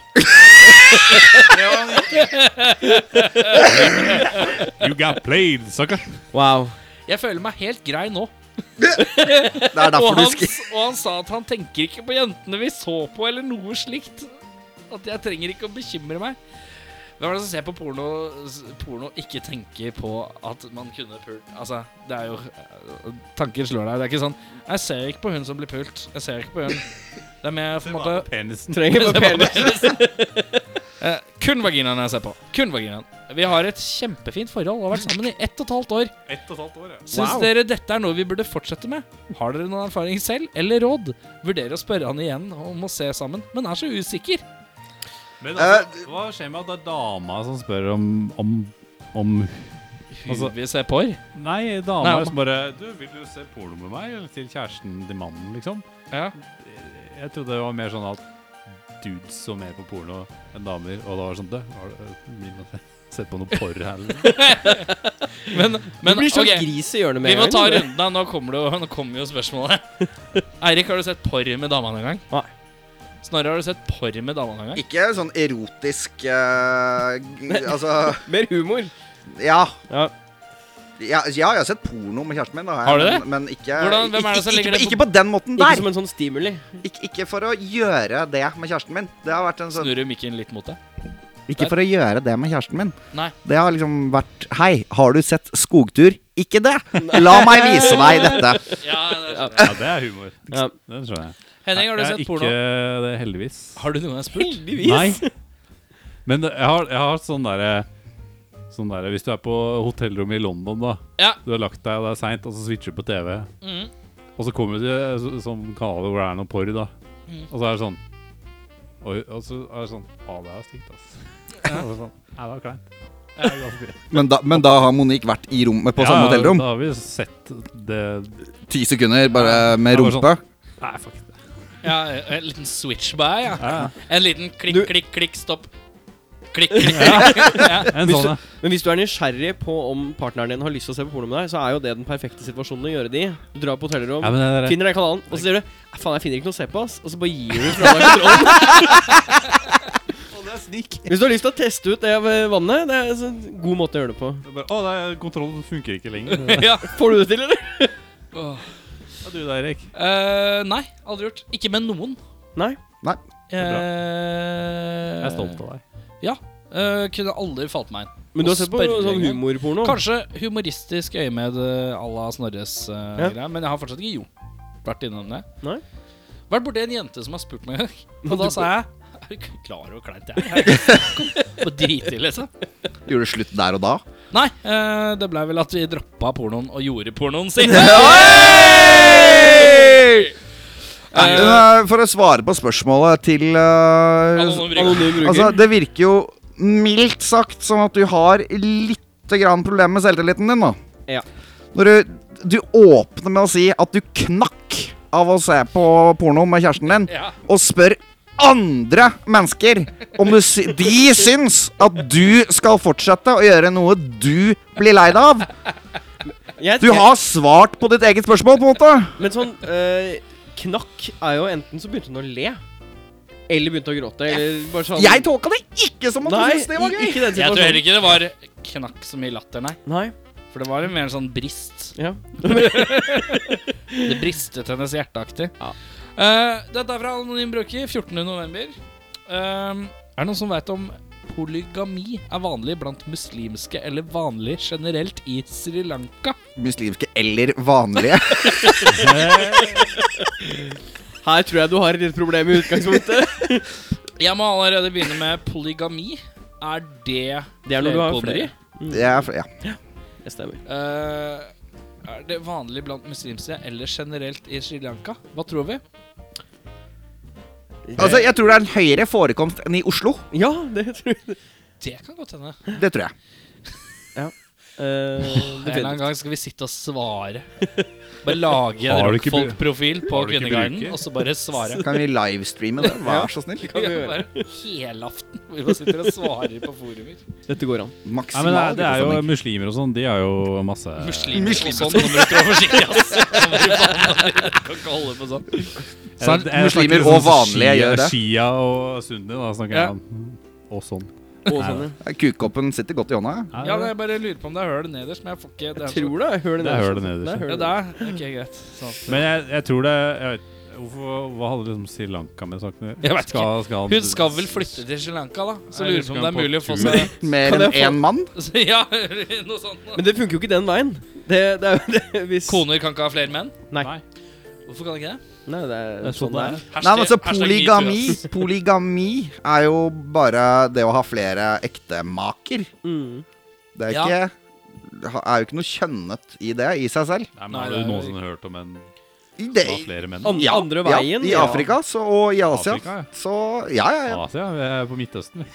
C: You got played, sucker.
E: Wow.
B: Jeg føler meg helt grei nå.
D: Det er
B: Og
D: derfor du
B: han,
D: skriver
B: og han sa at han tenker ikke på jentene vi så på, eller noe slikt. At jeg trenger ikke å bekymre meg. Hvem er det som ser på porno, s- porno ikke tenker på at man kunne pult? Altså, det er jo eh, Tanker slår deg. Det er ikke sånn Jeg ser ikke på hun som blir pult. Jeg ser ikke på hun. Det er mer på en måte
C: Penisen.
E: Trenger bare penis.
B: Eh, Kun vaginaen jeg ser på. Kun vaginaen. Vi har et kjempefint forhold og har vært sammen i ett og et halvt år.
C: Ett og et halvt år, ja.
B: Syns dere dette er noe vi burde fortsette med? Har dere noen erfaring selv, eller råd? Vurderer å spørre han igjen om å se sammen, men er så usikker.
C: Men
D: Eh,
C: altså, hva skjer med at det er dama som spør om om, om Altså-
B: vi ser på her.
C: Nei,
B: Nei,
C: dama
B: om-
C: som bare Du, vil du se porno med meg? Eller til kjæresten til mannen, liksom?
B: Ja.
C: Jeg trodde det var mer sånn at dudes så mer på porno enn damer, og da var det sånn Du, har du øh, blir man sett på noe porr her, eller?
B: Men,
E: Du
B: men
E: blir så
B: ok,
E: gris i hjørnet med
B: vi må
E: en gang,
B: ta
E: du.
B: runden. da. Nå kommer det jo, nå kommer jo spørsmålet. Eirik, har du sett porr med dama noen gang?
E: Nei.
B: Snorre, har du sett porr med dama noen gang?
D: Ikke sånn erotisk eh, g- Altså
E: Mer humor.
D: Ja.
E: Ja.
D: Ja, ja, jeg har sett porno med kjæresten min. Da,
B: Har du det?
D: Men, men ikke,
B: Hvordan- hvem er det som
D: ikke,
B: legger
D: ikke,
B: det på-
D: ikke på den måten
E: Ikke
D: der.
E: som en sånn stimuli.
D: Ikke, ikke for å gjøre det med kjæresten min. Det har vært en sånn
B: Snurrer mikken litt mot deg?
D: Ikke for å gjøre det med kjæresten min.
B: Nei.
D: Det har liksom vært Hei, har du sett Skogtur? Ikke det! La meg vise deg dette.
B: Ja,
C: Ja, det er humor.
E: Ja.
C: Den skjønner jeg.
B: Henning, har du
C: Jeg
B: sett
C: ikke
B: porno?
C: det, heldigvis.
B: Har du noen gang spurt?
E: Heldigvis.
C: Nei. Men jeg har, jeg har sånn derre Sånn der, Hvis du er på hotellrommet i London, da.
B: Ja.
C: Du har lagt deg, og det er seint, og så switcher du på TV.
B: Mhm.
C: Og så kommer du til så- sånn kanaler hvor det er noe porr, da.
B: Mhm.
C: Og så er det sånn Oi, og så er det sånn Å, det er stygt, ass. Og så sånn, Nei, det var kleint. Jeg er glad for det.
D: Men da, men da har Monique vært i rommet på samme
C: Ja,
D: hotellrom.
C: Da har vi sett det
D: Ti sekunder bare med
C: Ja, bare sånn.
D: rumpe.
C: Nei, fuck det.
B: Ja, en liten switch by, ja.
C: Ja, ja.
B: En liten klikk,
E: Du-
B: klikk, klikk, stopp. Klikk, klikk. ja.
C: En
E: Hvis
C: sånn, ja.
E: Men hvis du er nysgjerrig på om partneren din har lyst til å se på porno med deg, så er jo det den perfekte situasjonen å gjøre det i. Du drar på hotellrom,
C: ja men det der,
E: finner den kanalen, og så sier du "Nei, 'faen, jeg finner ikke noe å se på', ass. Og så bare gir du fra deg kontrollen. Hvis du har lyst til å teste ut det ved vannet, det er en god måte å gjøre det på.
C: bare, Å, det er, kontrollen funker ikke lenger.
B: ja.
E: Får du det til, eller?
B: Åh.
C: Ja, du da, Erik.
B: Eh, nei, aldri gjort. Ikke med noen.
E: Nei.
C: er bra.
B: Eh,
C: Jeg er stolt av deg.
B: eh, kunne aldri falt meg inn.
E: Men du
B: Og
E: har sett på
B: spørre
E: sånn
B: engang.
E: humorporno?
B: Kanskje humoristisk øyemed eh, à la Snorres eh,
E: Ja.
B: greier, men jeg har fortsatt ikke jo vært innom det.
E: Nei.
B: Vært borti en jente som har spurt meg en gang,
E: Du-
B: og da sa jeg Er du ikke klar over hvor kleint det er? På driti, liksom.
D: Gjorde det slutt der og da?
B: Nei, eh, det blei vel at vi droppa pornoen og gjorde pornoen sin.
D: Eh, For å svare på spørsmålet til eh,
C: sånn
B: Anonym bruker.
E: Anonym bruker.
D: Altså, det virker jo mildt sagt som at du har lite grann problemer med selvtilliten din, da.
E: Ja.
D: Når du, du åpner med å si at du knakk av å se på porno med kjæresten din,
B: Ja.
D: og spør andre mennesker om du sy de syns at du skal fortsette å gjøre noe du blir lei deg av.
E: Jeg-
D: Du har svart på ditt eget spørsmål, på en måte.
E: Men sånn eh, Knakk er jo enten så begynte hun å le, eller begynte å gråte, eller bare sånn
D: Jeg tolka det ikke som at du
E: Nei,
D: syntes det var
E: i-
D: gøy.
E: ikke
B: Jeg
E: den
B: tror heller
E: situasjonen.
B: ikke det var knakk så mye latter, nei.
E: Nei.
B: For det var mer en sånn brist.
E: Ja.
B: Det bristet hennes hjerteaktig.
E: Ja.
B: Eh, dette er fra Anonym Bruker, 14. november. Ehm, er det noen som vet om polygami er vanlig blant muslimske eller vanlig generelt i Sri Lanka?
D: Muslimske eller vanlige.
E: Her tror jeg du har et lite problem i utgangspunktet.
B: Jeg må allerede begynne med polygami. Er det
E: Det er når du har
B: flerkoneri?
E: flere.
D: Det er, ja.
E: Det stemmer.
B: Eh, er det vanlig blant muslimske eller generelt i Sri Lanka? Hva tror vi?
D: Altså, jeg tror det er en høyere forekomst enn i Oslo.
E: Ja, det tror jeg.
B: Det kan godt hende.
D: Det tror jeg.
E: Eh,
B: En
E: det
B: eller annen
E: vet-
B: gang skal vi sitte og svare. Bare lage en
C: Har du ikke bru-
B: rockfolk-profil på
C: har du ikke
B: Kvinneguiden,
C: bruker?
B: og så bare svare.
D: Kan vi livestreame det? Vær så snill.
E: kan vi
B: Ja,
E: gjøre.
B: bare Helaften. Vi bare sitter og svarer på forumer.
E: Dette går an.
C: Nei, men det er,
D: Maksimal
C: det er jo
D: utestanding.
C: muslimer og sånn. De har jo masse
B: Muslimer og
D: Muslimer.
B: sånn nå må du trå forsiktig, ass. Nå må du faen- Kan ikke holde på sånn.
C: Jeg- jeg snakker
D: muslimer
C: litt
D: og
C: sånn
D: vanlige
C: Shia-
D: gjør det.
C: Shia og sunni, da snakker
B: Ja.
C: jeg om. Og sånn.
E: Og sånn, ja.
D: Kukkoppen sitter godt i hånda.
C: Nei,
B: Ja, jeg bare lurer på om det er høl nederst, men jeg får ikke det.
E: Jeg
B: er så-
E: tror det. Hør det
C: Det er hølet
E: nederst.
C: nederst,
E: Det er
C: ja.
E: hølet
B: Ja, det er Ok, greit. Sånn. Sant.
C: Men jeg, jeg tror det jeg vet, hvorfor, Hva hadde liksom Sri Lanka med saken å gjøre?
B: Jeg vet
C: Skal- skal han-
B: Hun skal vel flytte til Sri Lanka, da. Så
C: Jeg
B: lurer
C: lurer
B: på om
C: på
B: det er
C: om
B: mulig å få
C: på
B: seg
D: Mer
E: Kan
D: enn
E: jeg få-
D: én mann.
B: Ja, noe sånt. da.
E: Men det funker jo ikke den veien. Det, det er jo det hvis
B: Koner kan ikke ha flere menn?
E: Nei.
C: Nei.
B: Hvorfor kan de ikke det?
E: Nei, det er,
C: Det er sånn det er.
D: Nei, men så
B: Hashtag- hashtag metoo, ass.
D: polygami Polygami er jo bare det å ha flere ektemaker.
E: Mm.
D: Det er
B: Ja.
D: ikke det er jo ikke noe kjønnet i det i seg selv.
C: Nei, men
B: Nei,
C: Har
B: det
C: du
B: er-
C: noensinne hørt om en
D: I
C: det
D: det,
C: var flere menn?
E: An- Andre
D: ja,
E: veien.
D: I Afrika så, og i Asia.
C: Afrika, ja.
D: Så ja, Ah. ja, ja.
C: Asia? Vi er på Midtøsten, vi.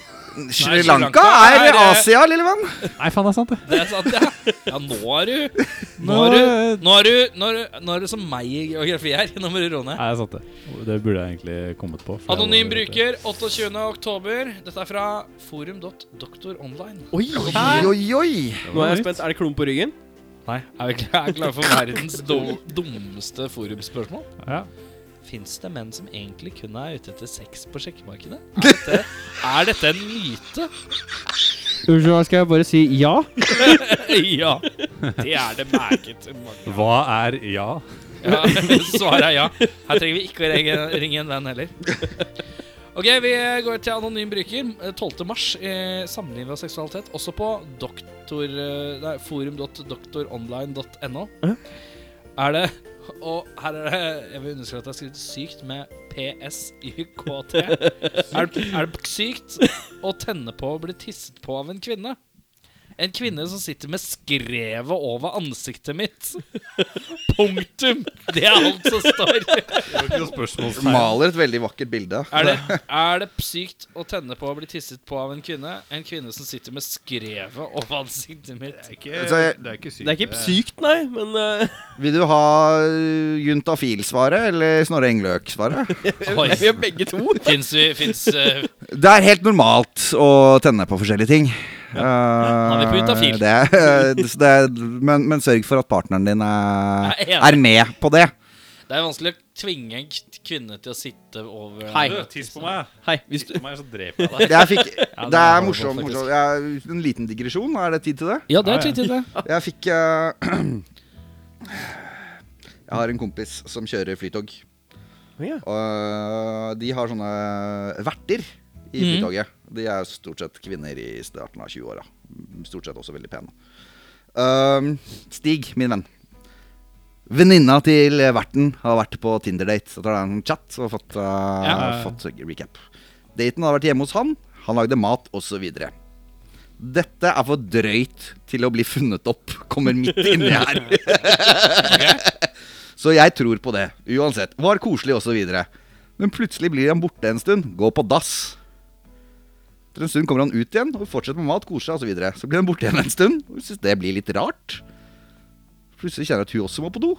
D: Sri
B: Sri Lanka
D: Lanka er
B: er, eh,
D: Asia, lille venn.
C: Nei, faen, det er sant, det.
B: Det er sant, ja. Ja, nå er du Nå er du, nå er du, nå er du, nå er du som meg i geografi her. Nå må du roe ned.
C: Nei, det er sant, det. Det burde jeg egentlig kommet på. for jeg
B: Anonym
C: var-
B: bruker 28. oktober. Dette er fra forum.doktoronline.
E: Oi,
D: Oi, oi, oi.
C: Det
E: Nå
C: var
E: er jeg
C: nytt.
E: spent. Er det klump på ryggen?
B: Nei, er vi klare, er vi klare for verdens do, dummeste forumspørsmål?
C: Ja.
B: Fins det menn som egentlig kun er ute etter sex på sjekkemarkedet? Er dette, er dette en myte?
E: Unnskyld, skal jeg bare si ja?
B: Ja. Det er det merket.
C: Hva er ja?
B: Ja, svaret er ja. Her trenger vi ikke å ringe, ringe en venn heller. Ok, Vi går til anonym bruker. eh, 12. mars. Eh, samliv og seksualitet. Også på doktor, eh, nei, forum.doktoronline.no. Er det Og her er det Jeg vil understreke at det er skrevet sykt med PSYKT. Er, det- er det sykt å tenne på å bli tisset på av en kvinne? En kvinne som sitter med skrevet over ansiktet mitt. Punktum! Det er alt som står.
D: Maler et veldig vakkert bilde.
B: Er det, er det sykt å tenne på å bli tisset på av en kvinne? En kvinne som sitter med skrevet over ansiktet mitt.
D: Så Altså, jeg-
C: Det er ikke sykt.
E: Det er ikke sykt, nei, men eh,
D: Vil du ha øh, Juntafil-svaret eller Snorre Engløk-svaret?
B: Oi.
E: vi er begge to.
B: Fins vi Fins eh,
D: Det er helt normalt å tenne på forskjellige ting.
B: han er på Juntafil.
D: Eh, det, er- det er, men, men sørg for at partneren din er,
B: Jeg er enig.
D: er med på det.
B: Det er vanskelig å tvinge en k- kvinne til å sitte over
E: Hei.
C: Eh, Du, Tiss på meg.
E: Hei, hvis
C: Tiss
E: du
C: på meg, så dreper jeg deg.
D: Jeg fikk,
B: det
D: det
B: var
D: er
B: det
D: morsomt.
B: faktisk.
D: morsomt. Jeg, en liten digresjon. Er det tid til det?
B: Ja, det
C: Ja,
B: er
C: ja.
B: tid til det.
D: Jeg fikk eh, Jeg har en kompis som kjører flytog.
E: Ja.
D: Og eh, de har sånne verter i
B: Mhm.
D: Flytoget. De er stort sett kvinner i starten av 20-åra. Stort sett også veldig pene. Ehm, Stig, min venn. Venninna til verten har vært på Tinder-date. Så tar det en chat og fått, eh,
C: Ja.
D: fått recap. Daten har vært hjemme hos han. Han lagde mat, osv. Dette er for drøyt til å bli funnet opp. Kommer midt inni her. Så jeg tror på det. Uansett. Var koselig osv. Men plutselig blir han borte en stund. Går på dass. Etter en stund kommer han ut igjen og fortsetter med mat, kose seg osv. Så, videre. så blir han borte igjen en stund. Og synes det blir litt rart. Plutselig kjenner jeg at hun også må på do.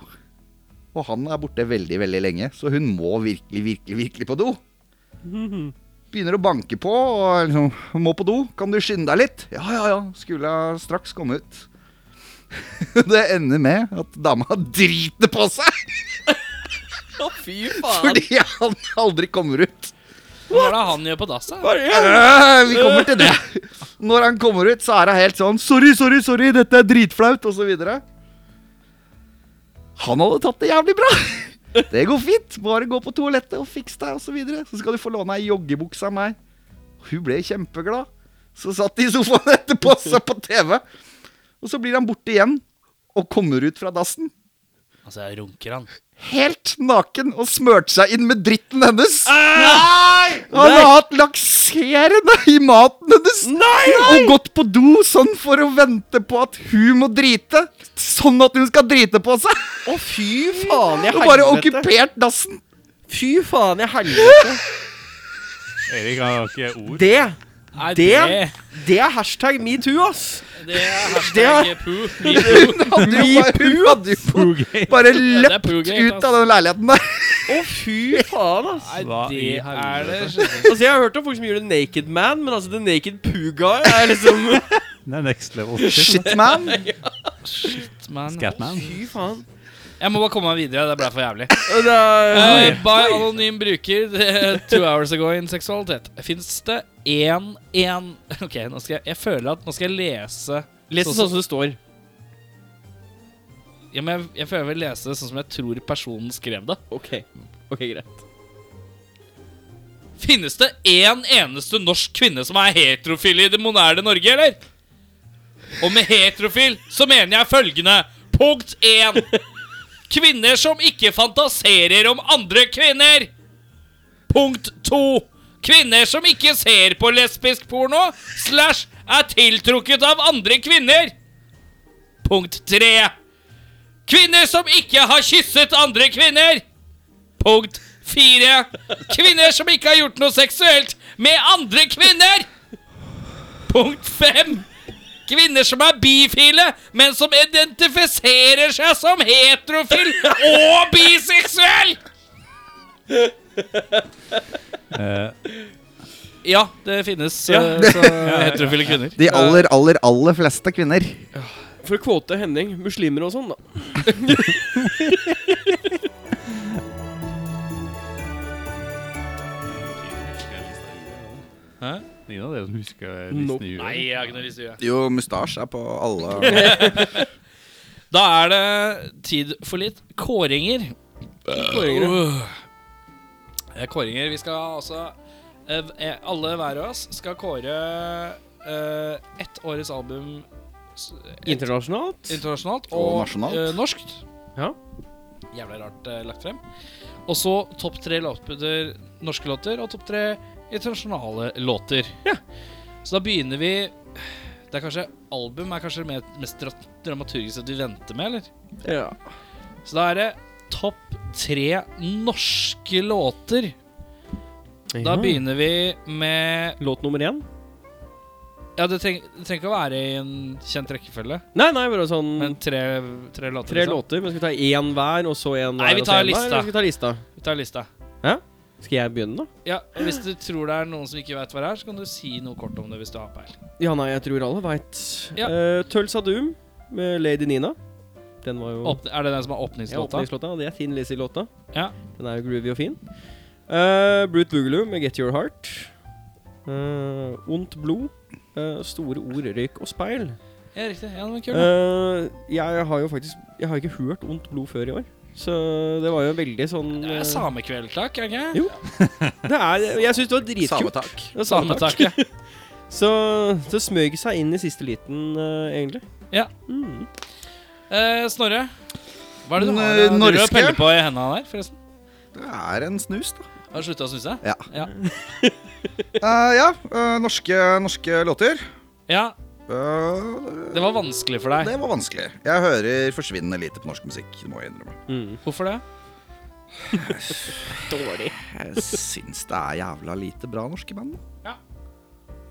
D: Og han er borte veldig, veldig lenge, så hun må virkelig, virkelig, virkelig på do. Begynner å banke på og liksom Må på do. Kan du skynde deg litt? Ja, ja, ja. Skulle jeg straks komme ut. Det ender med at dama driter på seg
E: Å, fy faen.
D: fordi han aldri kommer ut.
B: Hva er det han gjør på dass? da?
D: Øh, Vi kommer til det. Når han kommer ut, så er han helt sånn Sorry, sorry, sorry, dette er dritflaut, osv. Han hadde tatt det jævlig bra. Det går fint. Bare gå på toalettet og fiks deg, osv. Så, videre. så skal du få låne ei joggebukse av meg. Hun ble kjempeglad. Så satt de i sofaen etterpå og så på TV. Og så blir han borte igjen og kommer ut fra dassen.
B: Altså, jeg runker han.
D: helt naken og smørte seg inn med dritten hennes.
B: Eh!
D: Og
E: Nei!
D: han har hatt lakserende i maten hennes. Og gått på do sånn for å vente på at hun må drite. Sånn at hun skal drite på seg.
E: Å, fy faen i
D: Og bare
E: helvete.
D: okkupert dassen.
E: Fy faen i helvete.
C: Erik har ikke ord.
E: Det,
B: Nei, det,
E: Det- det er hashtag metoo, ass.
B: det er
E: Det
B: hashtag poo. Me too.
D: Hadde jo bare, hun hadde jo
C: Fugate.
D: bare
B: det er
D: løpt
B: poogate,
D: ut
B: ass.
D: av den leiligheten der.
E: Å, fy faen, ass.
B: Nei,
C: Hva
B: det
C: i
B: er det
C: helvete?
B: skjønner jeg.
E: Altså, Jeg har hørt om folk som gjør det naked man, men altså, the naked poo guy er liksom
C: Det er next level shit.
D: Shit, man.
B: Shit, man.
C: Scatman.
E: Fy faen.
B: Jeg må bare komme meg videre. Det ble for jævlig.
E: Det er,
B: Eh, by anonym bruker eh, Two hours ago in seksualitet. Fins det én én Ok, nå skal jeg, jeg føler at nå skal jeg lese
E: Les det sånn som det står.
B: ja, men jeg, jeg føler jeg vil lese det sånn som jeg tror personen skrev det.
E: Ok, ok, greit.
B: Finnes det én eneste norsk kvinne som er heterofil i det moderne Norge, eller? Og med heterofil så mener jeg følgende. Punkt én. Kvinner som ikke fantaserer om andre kvinner. Punkt to. Kvinner som ikke ser på lesbisk porno slash er tiltrukket av andre kvinner. Punkt tre. Kvinner som ikke har kysset andre kvinner. Punkt fire. Kvinner som ikke har gjort noe seksuelt med andre kvinner. Punkt fem. Kvinner som er bifile, men som identifiserer seg som heterofil og biseksuell.
C: Eh,
B: Ja, det finnes eh, så heterofile kvinner.
D: De aller, aller, aller fleste kvinner.
E: For å kvote Henning, muslimer og sånn, da.
B: Hæ?
C: Ingen av dere som husker eh,
E: Nope.
C: Disney
B: Nei, jeg har ikke noe lyst til å gjøre det.
D: Jo, mustasje er på alle.
B: Da er det tid for litt kåringer.
E: Kåringer, ja.
B: Øh. Eh, Kåringer. Vi skal altså eh, eh, Alle hver av oss skal kåre eh, ett årets album s- ett
E: Internasjonalt.
B: internasjonalt og,
D: Og nasjonalt.
B: eh, norskt.
E: Ja.
B: Jævlig rart eh, lagt frem. Og så topp tre låter, norske låter og topp tre internasjonale låter. Så da begynner vi Det er kanskje Album er kanskje det mer- mest dra- dramaturgiske du venter med, eller?
E: Ja.
B: Så da er det topp tre norske låter. Da begynner vi med
E: Låt nummer én?
B: Ja, det treng- det trenger ikke å være i en kjent rekkefølge,
E: Nei, nei, bare sånn
B: men tre, tre låter.
E: tre
B: liksom.
E: låter. Men skal vi ta én hver, og så én
B: Nei, vi
E: hver, og så
B: tar
E: en hver,
B: lista.
E: eller Skal, vi ta lista.
B: Vi tar lista.
E: skal jeg begynne, da?
B: Ja, og Hvis du tror det er noen som ikke vet hva det er, så kan du si noe kort om det hvis du har peil.
E: Ja, nei, jeg tror alle veit.
B: Ja.
E: Tølsa Doom med Lady Nina. Den var jo
B: Åpne, er det den som er
E: Ja,
B: åpningslåta?
E: åpningslåta. og Det er Thin Lizzie-låta.
B: Ja.
E: Den er jo groovy og fin. Eh, Brute Boogaloo med Get Your Heart. Eh, Ondt blod. Eh, store ord, røyk og speil.
B: Ja, riktig. Ja, den var kul. da.
E: Eh, jeg har jo faktisk Jeg har ikke hørt Ondt blod før i år. Så det var jo veldig sånn
B: Det
E: eh,
B: er samekveld, takk, er det ikke?
E: Jo, det er, Jeg syns det var dritkult.
D: Sametak.
E: Det var
B: Sametak, ja.
E: Så det smøg seg inn i siste liten, eh, egentlig.
B: Ja.
E: Mm.
B: Eh, Snorre, hva er det du
D: N-
B: har eh, driver du
D: Mm, norske?
B: og peller på i hendene der, forresten?
D: Det er en snus, da.
B: Har du slutta å snuse?
D: Ja.
B: Ja.
D: Eh, ja, eh, norske, norske låter.
B: ja,
D: Eh,
B: det var vanskelig for deg.
D: det var vanskelig. Jeg hører forsvinnende lite på norsk musikk. Det må jeg innrømme.
E: Mm.
B: Hvorfor det?
E: Dårlig.
D: Jeg syns det er jævla lite bra norske band. da.
B: Ja.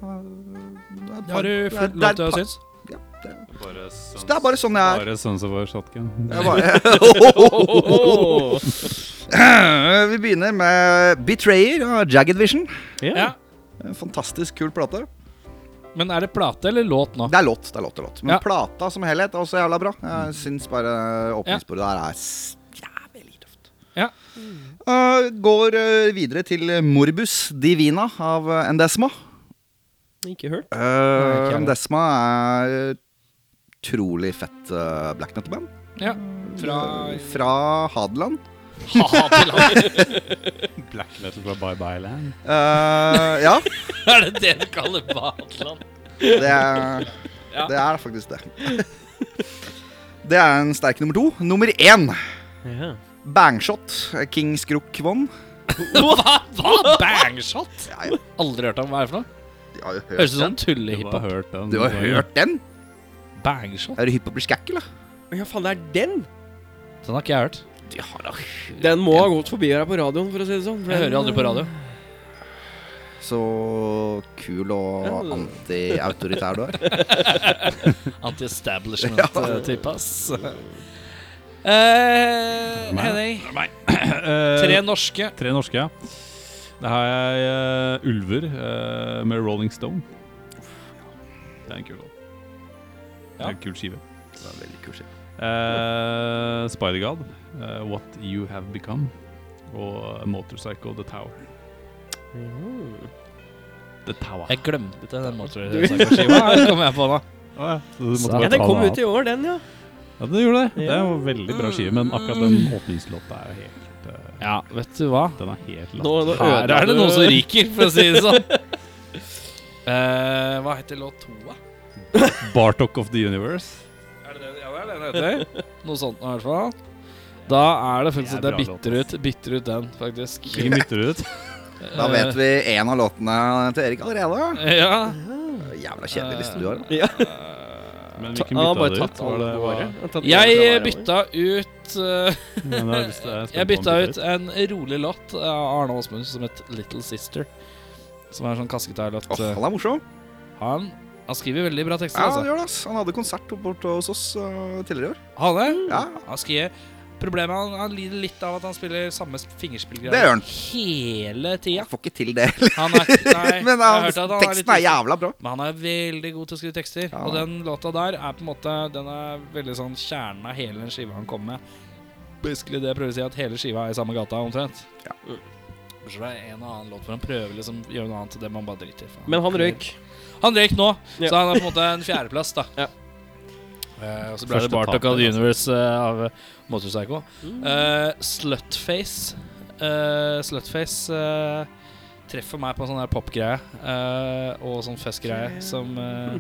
D: Eh, det er et par-
B: Har du
D: det er-
B: fulgt lov
D: det er
B: til å
D: et par-
B: synes?
D: Ja, det er-
C: Bare sånn,
D: det er bare sånn jeg er.
C: bare sånn som var shotgun.
D: Jeg bare Vi begynner med 'Betrayer' av Jagged Vision.
B: Ja.
E: Ja.
D: En fantastisk kul plate.
B: Men er det plate eller låt nå?
D: Det er låt, det er låt, det er låt. Men
B: Ja. Mm.
D: plata som helhet er også jævla bra. Jeg syns bare åpningsbordet der er s- jævlig tøft.
B: Ja.
D: Eh, går eh, videre til Morbus Divina av eh, Endesma.
E: Ikke hørt.
B: ikke
D: Uh,
B: jeg.
D: Desma er utrolig fett eh, black metal-band.
B: Ja. Fra
D: Eh, fra Hadeland.
B: Hadeland.
C: Black metal fra Bye Bye Land.
D: Eh, ja,
B: er det det du kaller Hadeland?
D: det er,
B: Ja.
D: det er faktisk det. Det er en sterk nummer to. Nummer én,
E: Ja.
D: Bangshot, eh, King Skruk Von.
B: Hva? Hva? Bangshot?
D: Ja, ja,
B: Aldri hørt om hva er det for noe?
D: jeg har jo hørt.
B: Høres ut som
C: Du har
B: tullehiphop.
C: hørt den.
D: Du har
C: så-
D: hørt den?
B: Bangshot?
D: Er du hypp på å bli skækk, eller?
E: ja, faen, det er den!
B: Den har ikke jeg hørt.
D: Du har da hørt
E: Den må ha gått forbi her på radioen, for å si det sånn. for
B: Jeg
E: den,
B: hører aldri på radio.
D: Så kul og
E: Ja.
D: anti-autoritær du er.
B: Anti-establishment-type, ass. Eh, Henning. Tre
C: Eh,
B: norske.
C: tre norske, ja. Da har jeg eh, Ulver eh, med Rolling Stone. Det er en kul låt. Det er en kul skive.
D: Det er veldig kul skive.
C: Uh, Spider-God, eh, What You Have Become, og Motorcycle The Tower.
E: Mm.
C: The Tower.
B: Jeg glemte den motorsakerskiva. kom jeg på nå.
C: Å ja, så du måtte
B: Så-
C: bare
E: Ja,
C: ta
E: den kom
C: av.
E: ut i år, den, ja.
C: Ja, det gjorde det. Det
E: Ja. Mm.
C: er jo veldig bra skive, men akkurat den åpningslåta er jo helt eh,
B: Ja, vet du hva?
C: Den er helt
E: Nå,
C: latt.
E: nå
B: Her
E: ødela
B: er det
E: du-
B: noen som ryker, for å si det sånn. Eh, hva heter låt to, da?
C: Bartok of the Universe.
B: Er det den, ja, det er den heter? Noe sånt nå, i hvert fall. Da er det faktisk
C: Det er
B: at jeg
C: bra låt,
B: bytter
C: ass.
B: ut, bytter ut den, faktisk.
C: Hvilken bytter du ut?
D: Da vet vi en av låtene til Erik allerede.
B: Ja.
D: Jævla kjedelig liste du har. da.
E: Ja.
C: Men
E: Ta-
C: hvilken
E: han har
C: bytta du
E: bare
C: ut?
E: tatt
C: Var
E: alle
C: det, var
E: våre.
C: det?
E: Han har tatt alle fra
B: Jeg
E: våre.
B: bytta ut eh,
C: Men jeg har lyst til- jeg er
B: Jeg
C: spent på om
B: bytta
C: han bytter
B: ut en rolig låt av Arne Åsmund som het Little Sister. Som er en sånn kasketarlåt.
D: Åh, han er morsom.
B: eh, Han, han skriver veldig bra tekster,
D: Ja, han
B: altså.
D: gjør det. ass. Han hadde konsert oppe borte hos oss øh, tidligere i år.
B: Han er,
D: Ja.
B: han skriver Problemet er han, han lider litt av at han spiller samme
D: Det gjør
B: fingerspillgreier
D: han.
B: hele tida.
D: Jeg får ikke til det.
B: Han er, nei,
D: Men eh,
B: jeg har hørt at han er litt
D: teksten er jævla bra.
B: Men han er veldig god til å skrive tekster.
D: Ja.
B: Og den låta der er på en måte Den er veldig sånn kjernen av hele den skiva han kommer med. Basically det jeg prøver å si, at hele skiva er i samme gata, omtrent.
D: Ja.
B: Bortsett fra en og annen låt hvor han prøver liksom å gjøre noe annet til det man bare driter i. for
E: Men han røyk.
B: Han røyk nå,
E: Ja.
B: så han er på en måte en fjerdeplass, da.
E: Ja.
B: Eh, og så ble
C: Første
B: det Bartok
C: taper,
B: of the
C: altså.
B: Universe eh, av eh, Motorpsycho. Eh, slutface eh, Slutface eh, treffer meg på en sånn der popgreie eh, og sånn festgreie som eh,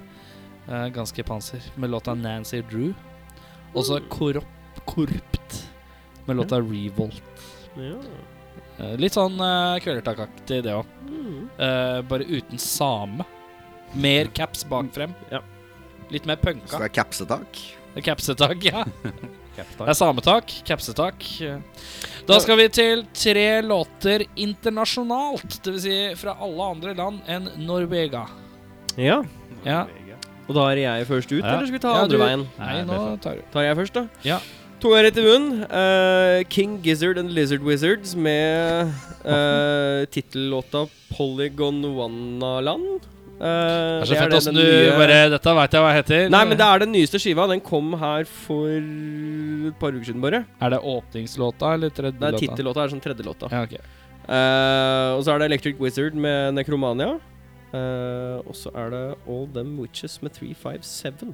B: er ganske panser, med låta Nancy Drew. Og så Korrupt, korrupt med låta Revolt.
E: Ja.
B: Eh, litt sånn uh, Kvelertak-aktig, det òg.
E: Mm.
B: Eh, bare uten same. Mer caps bak frem.
E: Ja.
B: Litt mer
D: Så
B: punka.
D: det er capsetak.
B: Det er Capsetak, ja. Det
C: Captain.
B: er sametak. Capsetak. Da skal vi til tre låter internasjonalt. Dvs. Si fra alle andre land enn Norvega.
E: Ja,
B: Ja.
E: Og da er jeg først ut,
C: Ja.
E: eller skal vi ta
B: Ja,
E: andre
B: du-
E: veien?
B: Nei,
C: Nei, det
B: nå
C: er sant.
B: tar du
E: Tar jeg først, da?
B: Ja.
E: Tunga rett i munnen. eh, King Gizzard and Lizard Wizards med uh, tittellåta 'Polygon Wannaland'. Eh,
B: Det er så
E: den-
B: fett åssen
E: den
B: du
E: nye-
B: bare Dette veit jeg hva heter.
E: Nei, men det er den nyeste skiva. Den kom her for et par uker siden, bare.
B: Er det åpningslåta eller tredje
E: Nei,
B: låta?
E: tittellåta er sånn tredjelåta.
B: Ja, ok.
E: Eh, og så er det Electric Wizard med Necromania. Eh, og så er det All Them Witches med 357.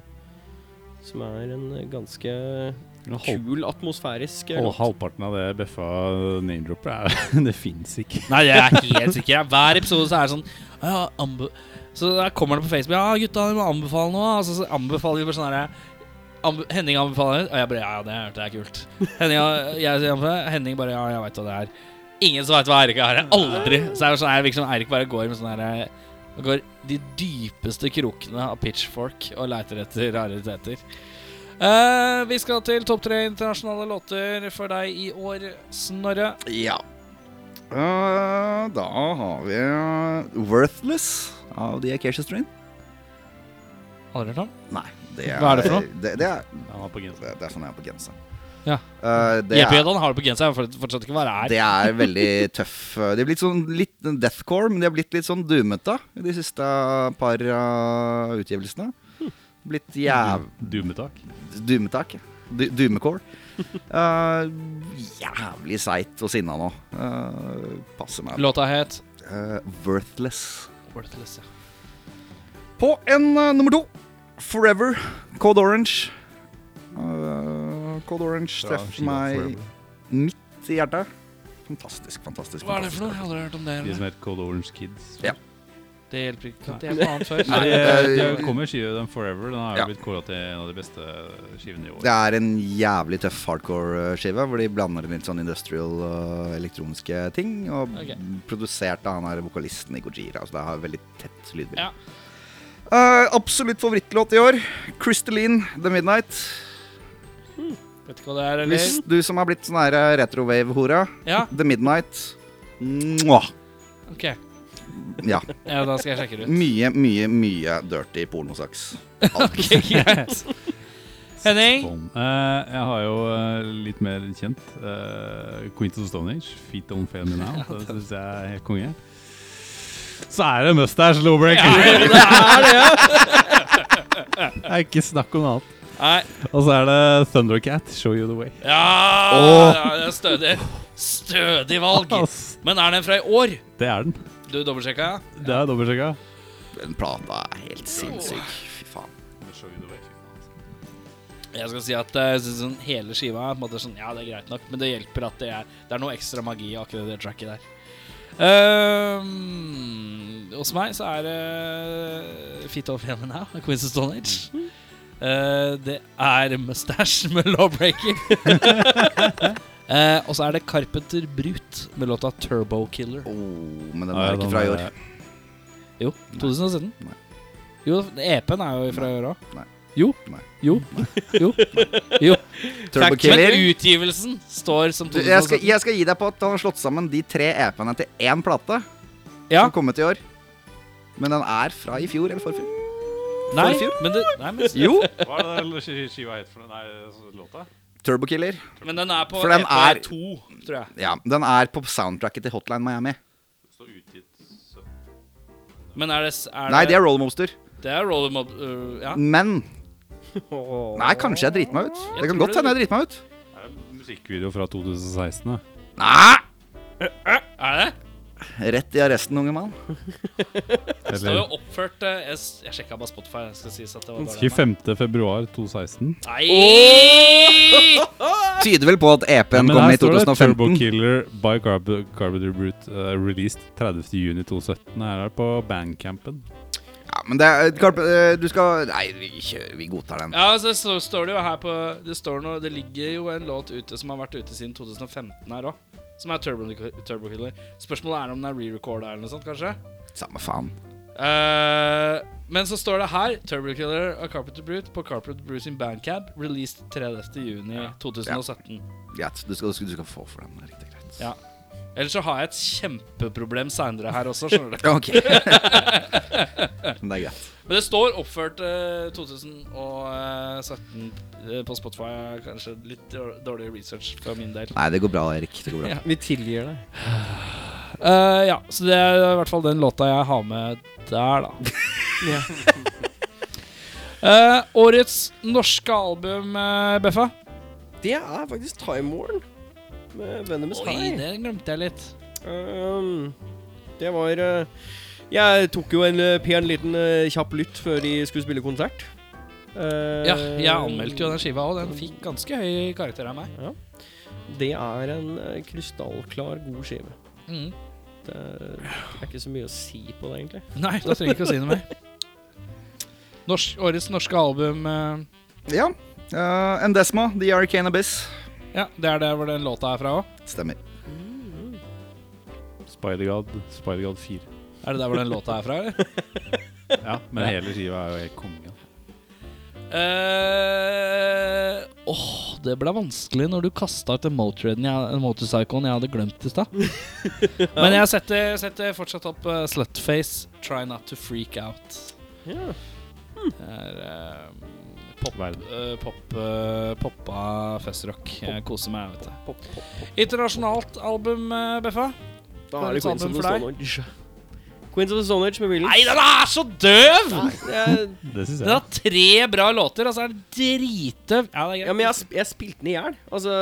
E: Som er en eh, ganske
C: Halv,
E: kul, atmosfærisk eh,
C: halv,
E: låt.
C: halvparten av det bøffa name-droppet er Det fins ikke.
B: Nei, jeg er helt sikker. Hver episode så er det sånn ja, anbe Så da kommer det på Facebook Ja, gutta, dere må anbefale noe. Altså, så anbefaler vi bare sånn herre anbe Henning anbefaler Og jeg bare Ja, ja, det, er- det er kult. Henning, og- jeg, sier anbefaler, Henning bare Ja, jeg veit hva det er. Ingen som veit hva Eirik er. Aldri. Så er det sånn her, virker som Eirik bare går med sånn herre Går de dypeste krokene av pitchfork og leiter etter rariteter. Eh, vi skal til topp tre internasjonale låter for deg i år, Snorre.
D: Ja. Eh, da har vi eh, 'Worthless' av The Acacia Strain.
B: Aldri hørt om?
D: Nei, det er
B: Hva er det for noe?
D: Det, det, er,
C: Han var på genseren.
D: det er sånn jeg er på genseren.
B: Ja.
D: Eh, det,
B: Jeppe
D: er,
B: Jødan har det på genseren. Jeg fortsatt ikke hva det er.
D: det er veldig tøff. eh, De er blitt sånn litt deathcore, men de har blitt litt sånn doomete i de siste par eh, utgivelsene. Blitt jæv...
C: Dumetak.
D: Dumetak. Dumekål. Eh, jævlig seigt og sinna nå. Eh, passer meg.
B: Låta het
D: Eh, worthless.
B: Worthless. ja.
D: På en eh, nummer to Forever Code Orange. Eh, Code Orange treffer meg midt i hjertet. Fantastisk, fantastisk.
B: Hva er det
D: fantastisk.
B: for noe? Jeg har aldri hørt om det.
C: De
B: eller?
C: som heter Cold Orange Kids.
D: Ja.
B: Det hjelper ikke. Kan ikke jeg få annet før?
C: Nei, de,
D: eh,
C: de kommer skiva den Forever. Den har jo
D: Ja.
C: blitt kåra til en av de beste skivene i år.
D: Det er en jævlig tøff hardcore-skive, hvor de blander inn litt sånn industrial og elektroniske ting. Og
B: Ok.
D: produsert av han her vokalisten i Gojira, så det har veldig tett lydbilde.
B: Ja.
D: Eh, absolutt favorittlåt i år, Crystalline The Midnight.
B: Vet ikke hva det er, eller?
D: Hvis du som har blitt sånn her retrowave-hora,
B: Ja,
D: The Midnight Mwah.
B: ok.
D: Ja.
B: Ja, da skal jeg sjekke det ut.
D: Mye, mye, mye dirty pornosaks. Alt.
B: Ok, greit. Henning?
C: Sånn. Eh, jeg har jo eh, litt mer kjent uh, Queens of Stone Age, Feet Don't Fail Me Now. Det syns jeg er helt konge. Så er det Mustache Lowbreak! det er ikke snakk om noe annet.
B: Nei.
C: Og så er det Thundercat, Show You The Way.
B: Ja,
C: Åh.
B: ja, det er stødig. Stødig valg.
C: Ass,
B: Men er den fra i år?
C: det er den.
B: Du dobbeltsjekka?
C: Det er dobbeltsjekka.
D: Den plata er helt sinnssyk. Fy faen.
B: Jeg skal si at eh, så- sånn, hele skiva er på en måte sånn Ja, det er greit nok, men det hjelper at det er Det er noe ekstra magi i akkurat det tracket der. Ehm, hos meg så er det Fit Off Heaven Now av Queens of Stone Age.
D: Mhm.
B: Eh, det er Mustache med Lawbreaker. Eh, og så er det Carpenter Brut med låta Turbo Killer.
D: Oh, men den er ikke fra i år.
B: Jo, 2017.
D: Nei.
B: Jo, EP-en er jo fra i år òg.
D: Nei.
B: Jo.
D: Nei.
B: Jo. Jo. Jo.
D: Turbo
B: Men
D: Killer.
B: utgivelsen står som
D: Du, jeg, skal,
B: 2017.
D: jeg skal gi deg på at han har slått sammen de tre EP-ene til én plate.
B: Ja.
D: Som kom ut i år. Men den er fra i fjor eller forfjor.
B: Nei,
D: forfjor?
B: men, det, nei men,
D: Jo.
C: Hva er det skiva het for Nei, altså, låta?
D: Turbokiller.
B: men den er på
D: For den er-
B: EP2, tror jeg.
D: Ja, den er på soundtracket til Hotline Miami.
B: Men er det, s- er
D: Nei, det er Rollmoster.
B: det er Roller Mob... øh, ja.
D: Men Nei, kanskje jeg driter meg ut. Det kan
B: tror
D: godt
B: det.
D: hende jeg driter meg ut.
C: Musikkvideo fra 2016, da.
D: Nei!
B: Er det?
D: Rett i arresten, unge mann.
B: Det står jo oppført eh, Jeg, s- jeg sjekka bare Spotify. Jeg skal sies at det var bare den her.
C: 25. februar 2016.
B: Nei!
D: Tyder vel på at EP-en
C: Men
D: kom
C: her
D: i
C: står det Turbo
D: 2015.
C: Killer by Garb Garbage Brute uh, released 30. juni 2017. Her er det på bandcampen.
D: Ja, men det er Karp, eh, Du skal Nei, vi kjører. Vi godtar den.
B: Ja, altså, så står det jo her på Det står noe, det ligger jo en låt ute som har vært ute siden 2015 her òg. Som er Turbo, Turbo Killer. Spørsmålet er om den er re-recorda eller noe sånt, kanskje.
D: Samme faen.
B: Eh, Men så står det her Turbo Killer av Carpenter Brute på Carpenter Brute sin bandcab. Released 30. juni 2017.
D: Greit. Du skal, du skal, du skal få for den. Riktig greit.
B: Ja. Ellers så har jeg et kjempeproblem seinere her også, skjønner du.
D: Ok. Men det er greit.
B: Men det står oppført eh, 2017 eh, på Spotify. Kanskje litt dår- dårlig research fra min del.
D: Nei, det går bra, Erik. Det går bra.
B: Ja.
E: Vi tilgir deg.
B: Eh, ja, så det er i hvert fall den låta jeg har med der, da. Eh, årets norske album, eh, Beffa.
E: Det er faktisk Time Warn med Venomous
B: Oi,
E: High.
B: det glemte jeg litt.
E: Um, det var eh, Jeg tok jo en eh, pen liten eh, kjapp lytt før de skulle spille konsert. Eh,
B: Ja, jeg anmeldte jo den skiva, og den fikk ganske høy karakter av meg.
E: Det er en eh, krystallklar god skive.
B: Mm.
E: Det er, eh, det er ikke så mye å si på det, egentlig.
B: Nei, da trenger jeg ikke å si noe mer. Norsk, årets norske album eh,
D: Ja. eh, Endesma, The Arcane Abyss.
B: Ja, det er der hvor den låta er fra òg?
D: Stemmer.
C: Spider-God Spider God 4.
B: Er det der hvor den låta er fra, eller?
C: Ja, men hele skiva er jo helt konge.
B: Eh, Åh, det ble vanskelig når du kasta ut den motorcyclen jeg, motorcyclen jeg hadde glemt i stad. Men jeg setter, setter fortsatt opp eh, Slutface, Try Not To Freak Out.
E: Ja.
B: Det er eh, pop,
C: Verden.
B: eh, pop, eh, poppa festrock. Jeg koser meg, vet du. Internasjonalt album, eh, Beffa?
E: Mm. Da er det
B: Hvem sa
E: Queens of
B: den
E: the
B: for deg?
E: Stone Age. Queens of the Stone Age med Williams.
B: Nei, den er så døv!
E: Det er-
C: Det
B: Den
C: syns jeg.
B: har tre bra låter, og så er den dritdøv. Ja, det er greit.
E: Ja, men jeg, sp- jeg spilte den i hjel. Altså,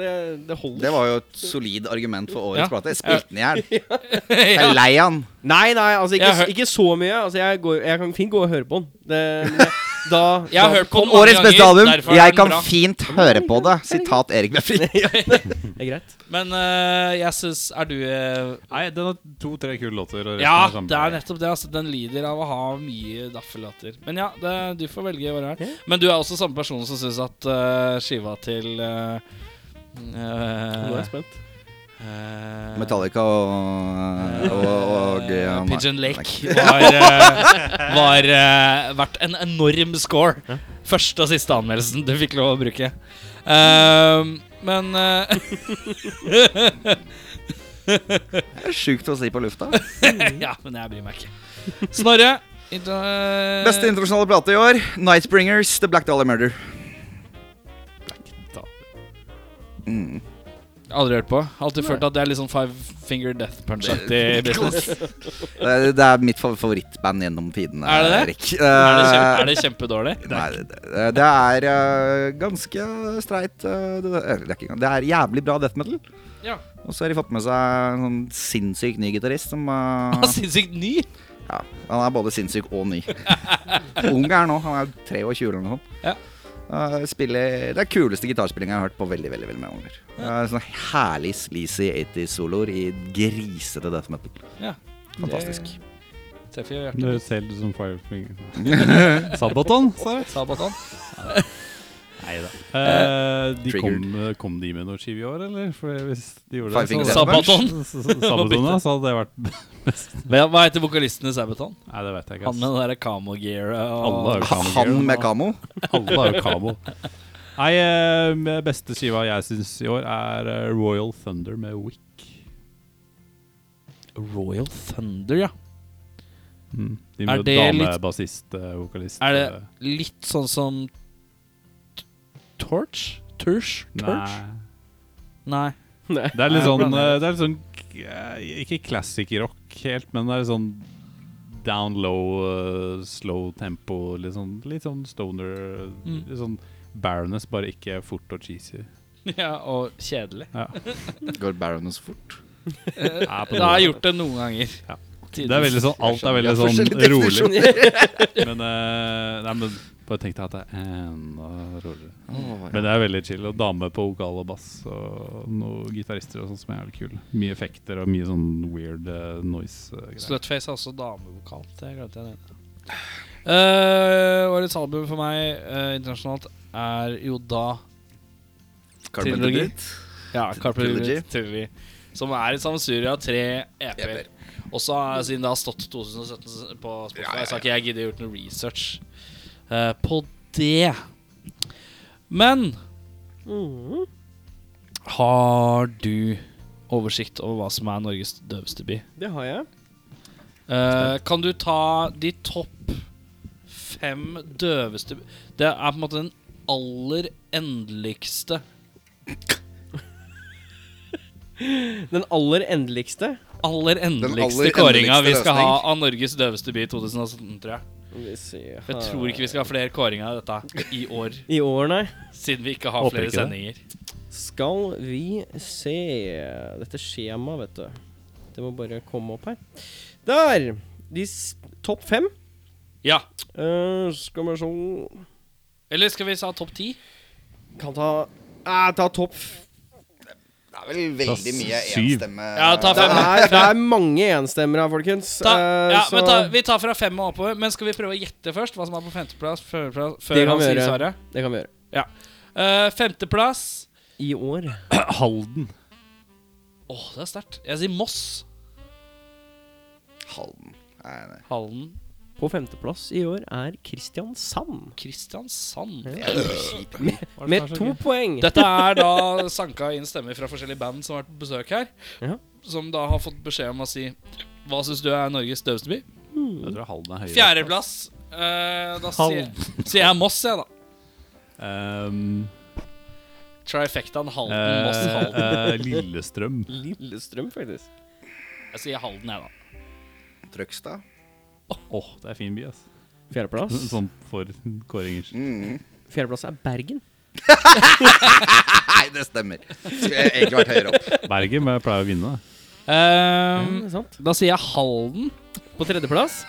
E: det, det holder.
D: Det var jo et solid argument for årets
B: Ja.
D: plate. Jeg spilte den i hjel. Jeg
B: Ja.
D: er lei av den.
E: Nei, nei, altså ikke,
B: Jeg har hø-
E: ikke så mye. Altså, jeg, går, jeg kan fint gå og høre på den. Det, men jeg- da,
B: Jeg har
E: da,
B: hørt på den mange
D: Årets beste
B: ganger,
D: album.
B: derfor er
D: Jeg
B: den
D: kan
B: bra.
D: fint høre på det. Sitat Erik Befrin.
E: Det er greit.
B: Men eh, jeg syns Er du eh,
C: Nei, den har to-tre kule låter. Og resten sånn
B: Ja,
C: samme.
B: det er nettopp det. Altså, den lider av å ha mye daffelatter. Men ja, det, du får velge hva det er.
E: Ja.
B: Men du er også samme person som syns at eh, skiva til eh,
E: Nå er
B: eh,
E: jeg spent.
B: eh,
D: Metallica og, og, og,
B: eh,
D: og
B: Pigeon Lake var, eh, var eh, verdt en enorm score. Første og siste anmeldelsen du fikk lov å bruke. Ehm, men eh,
D: Det er sjukt å si på lufta.
B: Ja, men jeg bryr meg ikke. Snorre. inter-
D: Beste internasjonale plate i år. Nightbringers The Black Dollar Murder. Mm.
B: Aldri hørt på. Alltid følt at det er litt sånn Five Finger Death Punch-aktig business.
D: Det er- det er mitt fa- favorittband gjennom tidene.
B: Er det det?
D: Erik. Eh,
B: Er det, kjempe, er det kjempedårlig?
D: Nei, det, det- det er eh, ganske streit eh, det, eller, det, er ikke, engang- det er jævlig bra death metal.
B: Ja.
D: Og så har de fått med seg en sånn sinnssyk ny gitarist som eh,
B: Han er Sinnssykt ny.
D: ja, Han er både sinnssyk og ny. Ung er han nå. Han er 23 eller noe sånt.
B: Ja.
D: Eh, spiller Det er kuleste gitarspillinga jeg har hørt på veldig veldig, veldig mange ganger. Eh, sånne herlig sleazy 80s-soloer i grisete death metal.
B: Ja.
D: Fantastisk.
B: Treffer jo
C: Du
B: hjertet.
C: selv som Firefinger Sabaton, sa jeg.
B: Sabaton.
C: Nei da. Eh, de kom,
D: Triggered.
C: kom de med noen skive i år, eller? For hvis de gjorde
D: Five
C: det,
D: Finger
C: så-
D: Death Punch.
B: Sabaton.
C: S- s- Sabaton, ja, så hadde det vært
B: Hva hva heter vokalisten i Sabaton?
C: Nei, det vet jeg ikke.
B: Han
C: ass.
B: med det derre camo-gearet
C: Alle
B: eh,
C: har
B: og
C: jo kamo.
D: Han med kamo.
C: Alle har jo kamo. Nei, eh, med beste skiva jeg syns i år, er eh, Royal Thunder med Wick.
B: Royal Thunder, ja.
C: De
B: Er
C: med
B: det litt-
C: damebassist, eh, vokalist
B: Er det
C: eh,
B: litt sånn som T- Torch? Turch? Torch?
C: Nei.
B: Nei.
E: Nei.
C: Det er litt
B: Nei, jeg
C: sånn,
B: blander
C: eh, det er litt sånn eh, Ikke classic rock helt, men det er litt sånn down low, eh, slow tempo. Litt sånn, litt sånn stoner.
B: Mm.
C: Litt sånn Baroness, bare ikke fort og cheesy.
B: Ja, og kjedelig.
C: Ja.
D: Går Baroness fort?
B: Jeg
C: Ja, på
B: har
C: noe.
B: gjort det noen ganger.
C: Ja.
B: Tidligere.
C: Det er veldig sånn, alt er veldig
D: Jeg
C: sånn
D: skjønner, vi har forskjellige
C: rolig. Men, eh, nei, men bare tenk deg at det er enda roligere.
D: Åh, ja.
C: Men det er veldig chill. Og dame på vokal og bass og noen gitarister og sånn som er jævlig kule. Mye effekter og mye sånn weird eh, noise-greier.
B: Slutface er også damevokal. Det glemte jeg å nevne. Eh, årets album for meg eh, internasjonalt er jo da
D: Carpenter
B: Trilogi.
D: Brut.
B: ja, Carpe
D: Trilogy.
B: Trilogy. Som er et sammensurium av tre EP-er.
D: EP-er.
B: Og så eh, siden det har stått 2017 på Spotify, så har ikke jeg giddet gjort noe research eh, på det. Men har du oversikt over hva som er Norges døveste by?
E: Det har jeg.
B: Eh, kan du ta de topp fem døveste by- Det er på en måte den aller endeligste
E: Den aller endeligste
B: Aller endeligste
D: aller
B: kåringa vi
D: endeligste
B: skal ha
D: løsning.
B: av Norges døveste by i 2017, tror jeg.
E: Vi ser
B: For Jeg tror ikke vi skal ha flere kåringer av dette i år,
E: I år, nei.
B: siden vi ikke har
C: Håper
B: flere
C: ikke det.
B: sendinger.
E: Skal vi se Dette skjemaet, vet du. Det må bare komme opp her. Der! De s topp fem.
B: Ja.
E: Eh, skal vi se
B: Eller skal vi sa topp ti?
E: Kan ta eh, Ta topp f-
D: Det er vel veldig mye
C: Syv.
D: enstemme
B: Ja, ta
E: Eh, Det
B: fem.
E: er, det er mange enstemmere her, folkens.
B: Ta,
E: Eh,
B: ja,
E: så
B: men ta, vi tar fra fem og oppover. Men skal vi prøve å gjette først hva som er på femteplass? Før, før, før
E: Det kan
B: han
E: vi
B: sier
E: gjøre.
B: svaret?
E: Det kan vi gjøre.
B: Eh, femteplass
E: I år.
C: Halden.
B: Åh, det er sterkt. Jeg sier Moss.
D: Halden. Nei, nei.
B: Hallen.
E: På femteplass i år er Kristiansand.
B: Kristiansand.
D: Det er jo kjipt.
E: Med to poeng.
B: Dette er da sanka inn stemmer fra forskjellige band som har vært på besøk her.
E: Ja.
B: Som da har fått beskjed om å si Hva syns du er Norges døveste by?
C: Jeg tror Halden er høyere.
B: Fjerdeplass. eh, da sier,
C: Halden.
B: sier jeg Moss, jeg, da.
C: Ehm,
B: Trifectaen Halden, Moss,
C: eh,
B: Halden.
C: eh, Lillestrøm.
E: Lillestrøm, faktisk.
B: Jeg sier Halden, jeg, da.
D: Trøgstad.
C: Åh, det er fin by, ass.
E: Fjerdeplass.
C: Sånn for kåringer.
D: Mm.
E: Fjerdeplass er Bergen.
D: Nei, det stemmer. Skulle jeg egentlig vært høyere opp.
C: Bergen men jeg pleier å vinne. da.
B: Ehm,
E: Mm, sant?
B: da sier jeg Halden.
E: På tredjeplass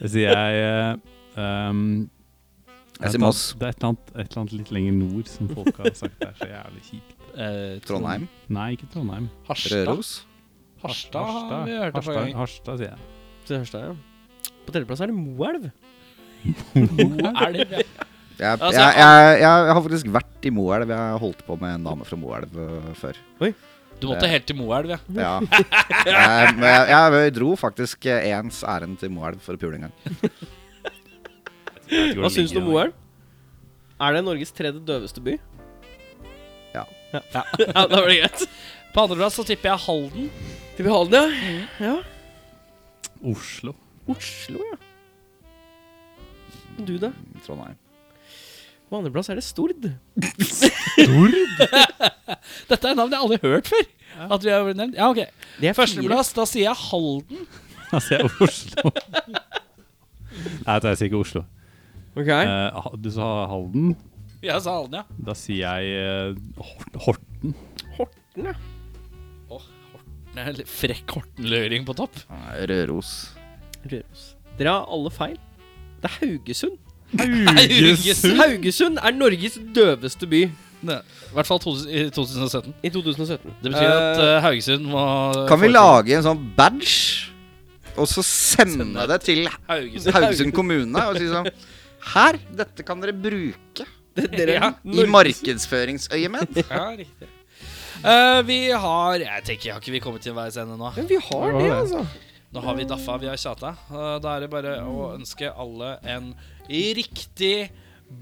C: Det sier jeg eh, ehm,
D: Jeg
C: et
D: sier
C: eller
D: Moss.
C: annet- Det er et eller, annet, et eller annet litt lenger nord som folk har sagt er så jævlig kjipt.
B: eh,
D: Trondheim.
C: Nei, ikke Trondheim.
B: Harstad.
D: Røros.
B: Harstad har vi hørt det
C: Harstad,
B: forrige gang.
C: Harstad, sier jeg.
E: Til første, ja. På tredjeplass er det Moelv.
B: Er det det?
D: Jeg,
B: Altså,
D: jeg, jeg, jeg, jeg har faktisk vært i Moelv. Jeg har holdt på med en dame fra Moelv øh, før.
B: Du måtte helt til Moelv, ja.
D: Ja. Jeg, jeg, jeg dro faktisk eh, ens ærend til Moelv for å pule en gang.
C: Jeg tror
E: Hva
C: det
E: syns du
C: ligger
E: om
C: der.
E: Moelv? Er det Norges tredje døveste by?
D: Ja.
E: Ja, ja Da var det greit.
B: På andreplass så tipper jeg Halden.
E: Til vi Halden, ja. ja.
C: Oslo.
E: Oslo, ja. Du, da?
D: Trondheim.
E: På andreplass er det Stord.
B: Dette er et navn jeg aldri har hørt før. At vi har blitt nevnt. Ja, ok.
E: Det er fire.
B: Førsteplass, da sier jeg Halden.
C: Da sier jeg Oslo. Nei, jeg sier ikke Oslo.
E: Ok.
C: Eh, ha- du sa Halden.
B: Jeg sa Halden, ja.
C: Da sier jeg eh, Hort- Horten.
E: Horten, ja.
B: Det er litt Frekk Horten-løring på topp.
D: Nei, Røros.
E: Røros. Dere har alle feil. Det er Haugesund.
B: Haugesund.
E: Haugesund er Norges døveste by
B: I hvert fall tos- i 2017.
E: i 2017.
B: Det betyr at eh, Haugesund må
D: Kan vi
B: fortsette.
D: lage en sånn badge, og så sende det til
B: Haugesund.
D: Haugesund kommune og si sånn Her! Dette kan dere bruke
E: Det, dere,
B: Ja,
D: i
E: Norges-
D: markedsføringsøyemed.
B: Ja, riktig. Eh, vi har Jeg tenker, Har ikke vi kommet til veis ende nå?
E: Men vi har det, altså.
B: Nå har vi daffa, vi har tjata. Eh, da er det bare å ønske alle en riktig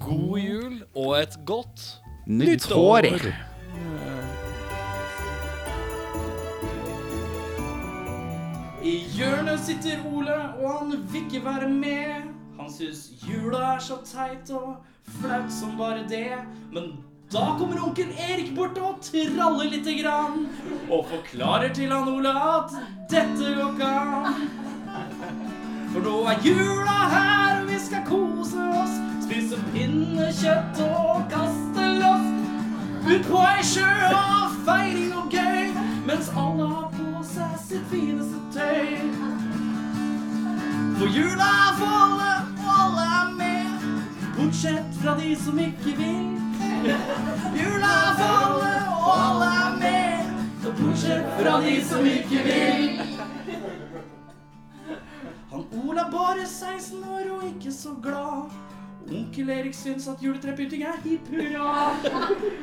B: god jul og et godt
D: Nytt hår!
B: I hjørnet sitter Ole, og han vil ikke være med. Han syns jula er så teit og flaut som bare det. Men da kommer onkel Erik bort og traller lite grann. Og forklarer til han Ole at dette går ikke an. For nå er jula her, og vi skal kose oss. Spise pinnekjøtt og kaste loff. Ut på ei sjø av feiring og gøy, mens alle har på seg sitt fineste tøy. For jula er for alle, og alle er med, bortsett fra de som ikke vil. Jula er for alle, og alle er med, så bortsett fra de som ikke vil. Han Ola bare 16 år og ikke så glad. Onkel Erik syns at juletrepynting er hipp hurra.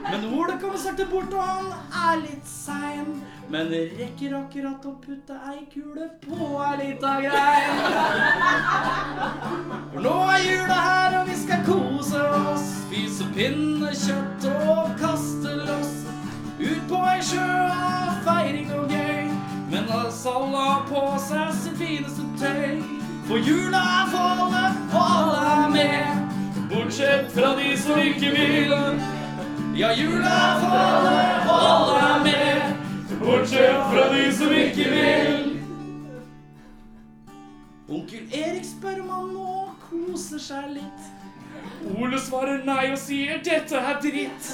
B: Men Ole kommer sakte bort, og han er litt sein. Men rekker akkurat å putte ei kule på ei lita grein. For nå er jula her, og vi skal kose oss. Spise pinnekjøtt og kaste loss. Ut på ei sjø av feiring og gøy. Men altså, alle har på seg sitt fineste tøy. For jula er for alle, og alle er med. Bortsett fra de som ikke vil. Ja, jula er for alle, og alle er med. Bortsett fra de som ikke vil. Onkel Erik spør om han nå koser seg litt. Ole svarer nei og sier 'dette er dritt'.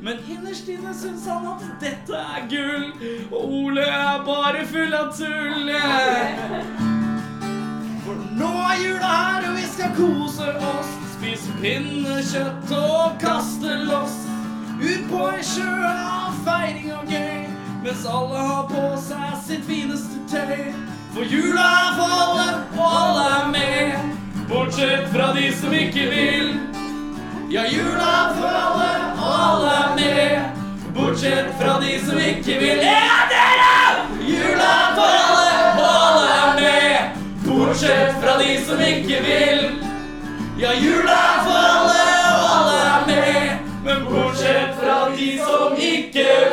B: Men innerst inne syns han at dette er gull. Og Ole er bare full av tull. For nå er jula her, og vi skal kose oss. Spise pinnekjøtt og kaste loss. Ut på ei sjø av feiring og gøy. Mens alle har på seg sitt fineste tøy. For jula er for alle, og alle er med. Bortsett fra de som ikke vil. Ja, jula er for alle, og alle er med. Bortsett fra de som ikke vil. Ja, dere! Jula er for alle, og alle er med. Bortsett fra de som ikke vil. Ja, jula er for alle, og alle er med. Men bortsett fra de som ikke vil.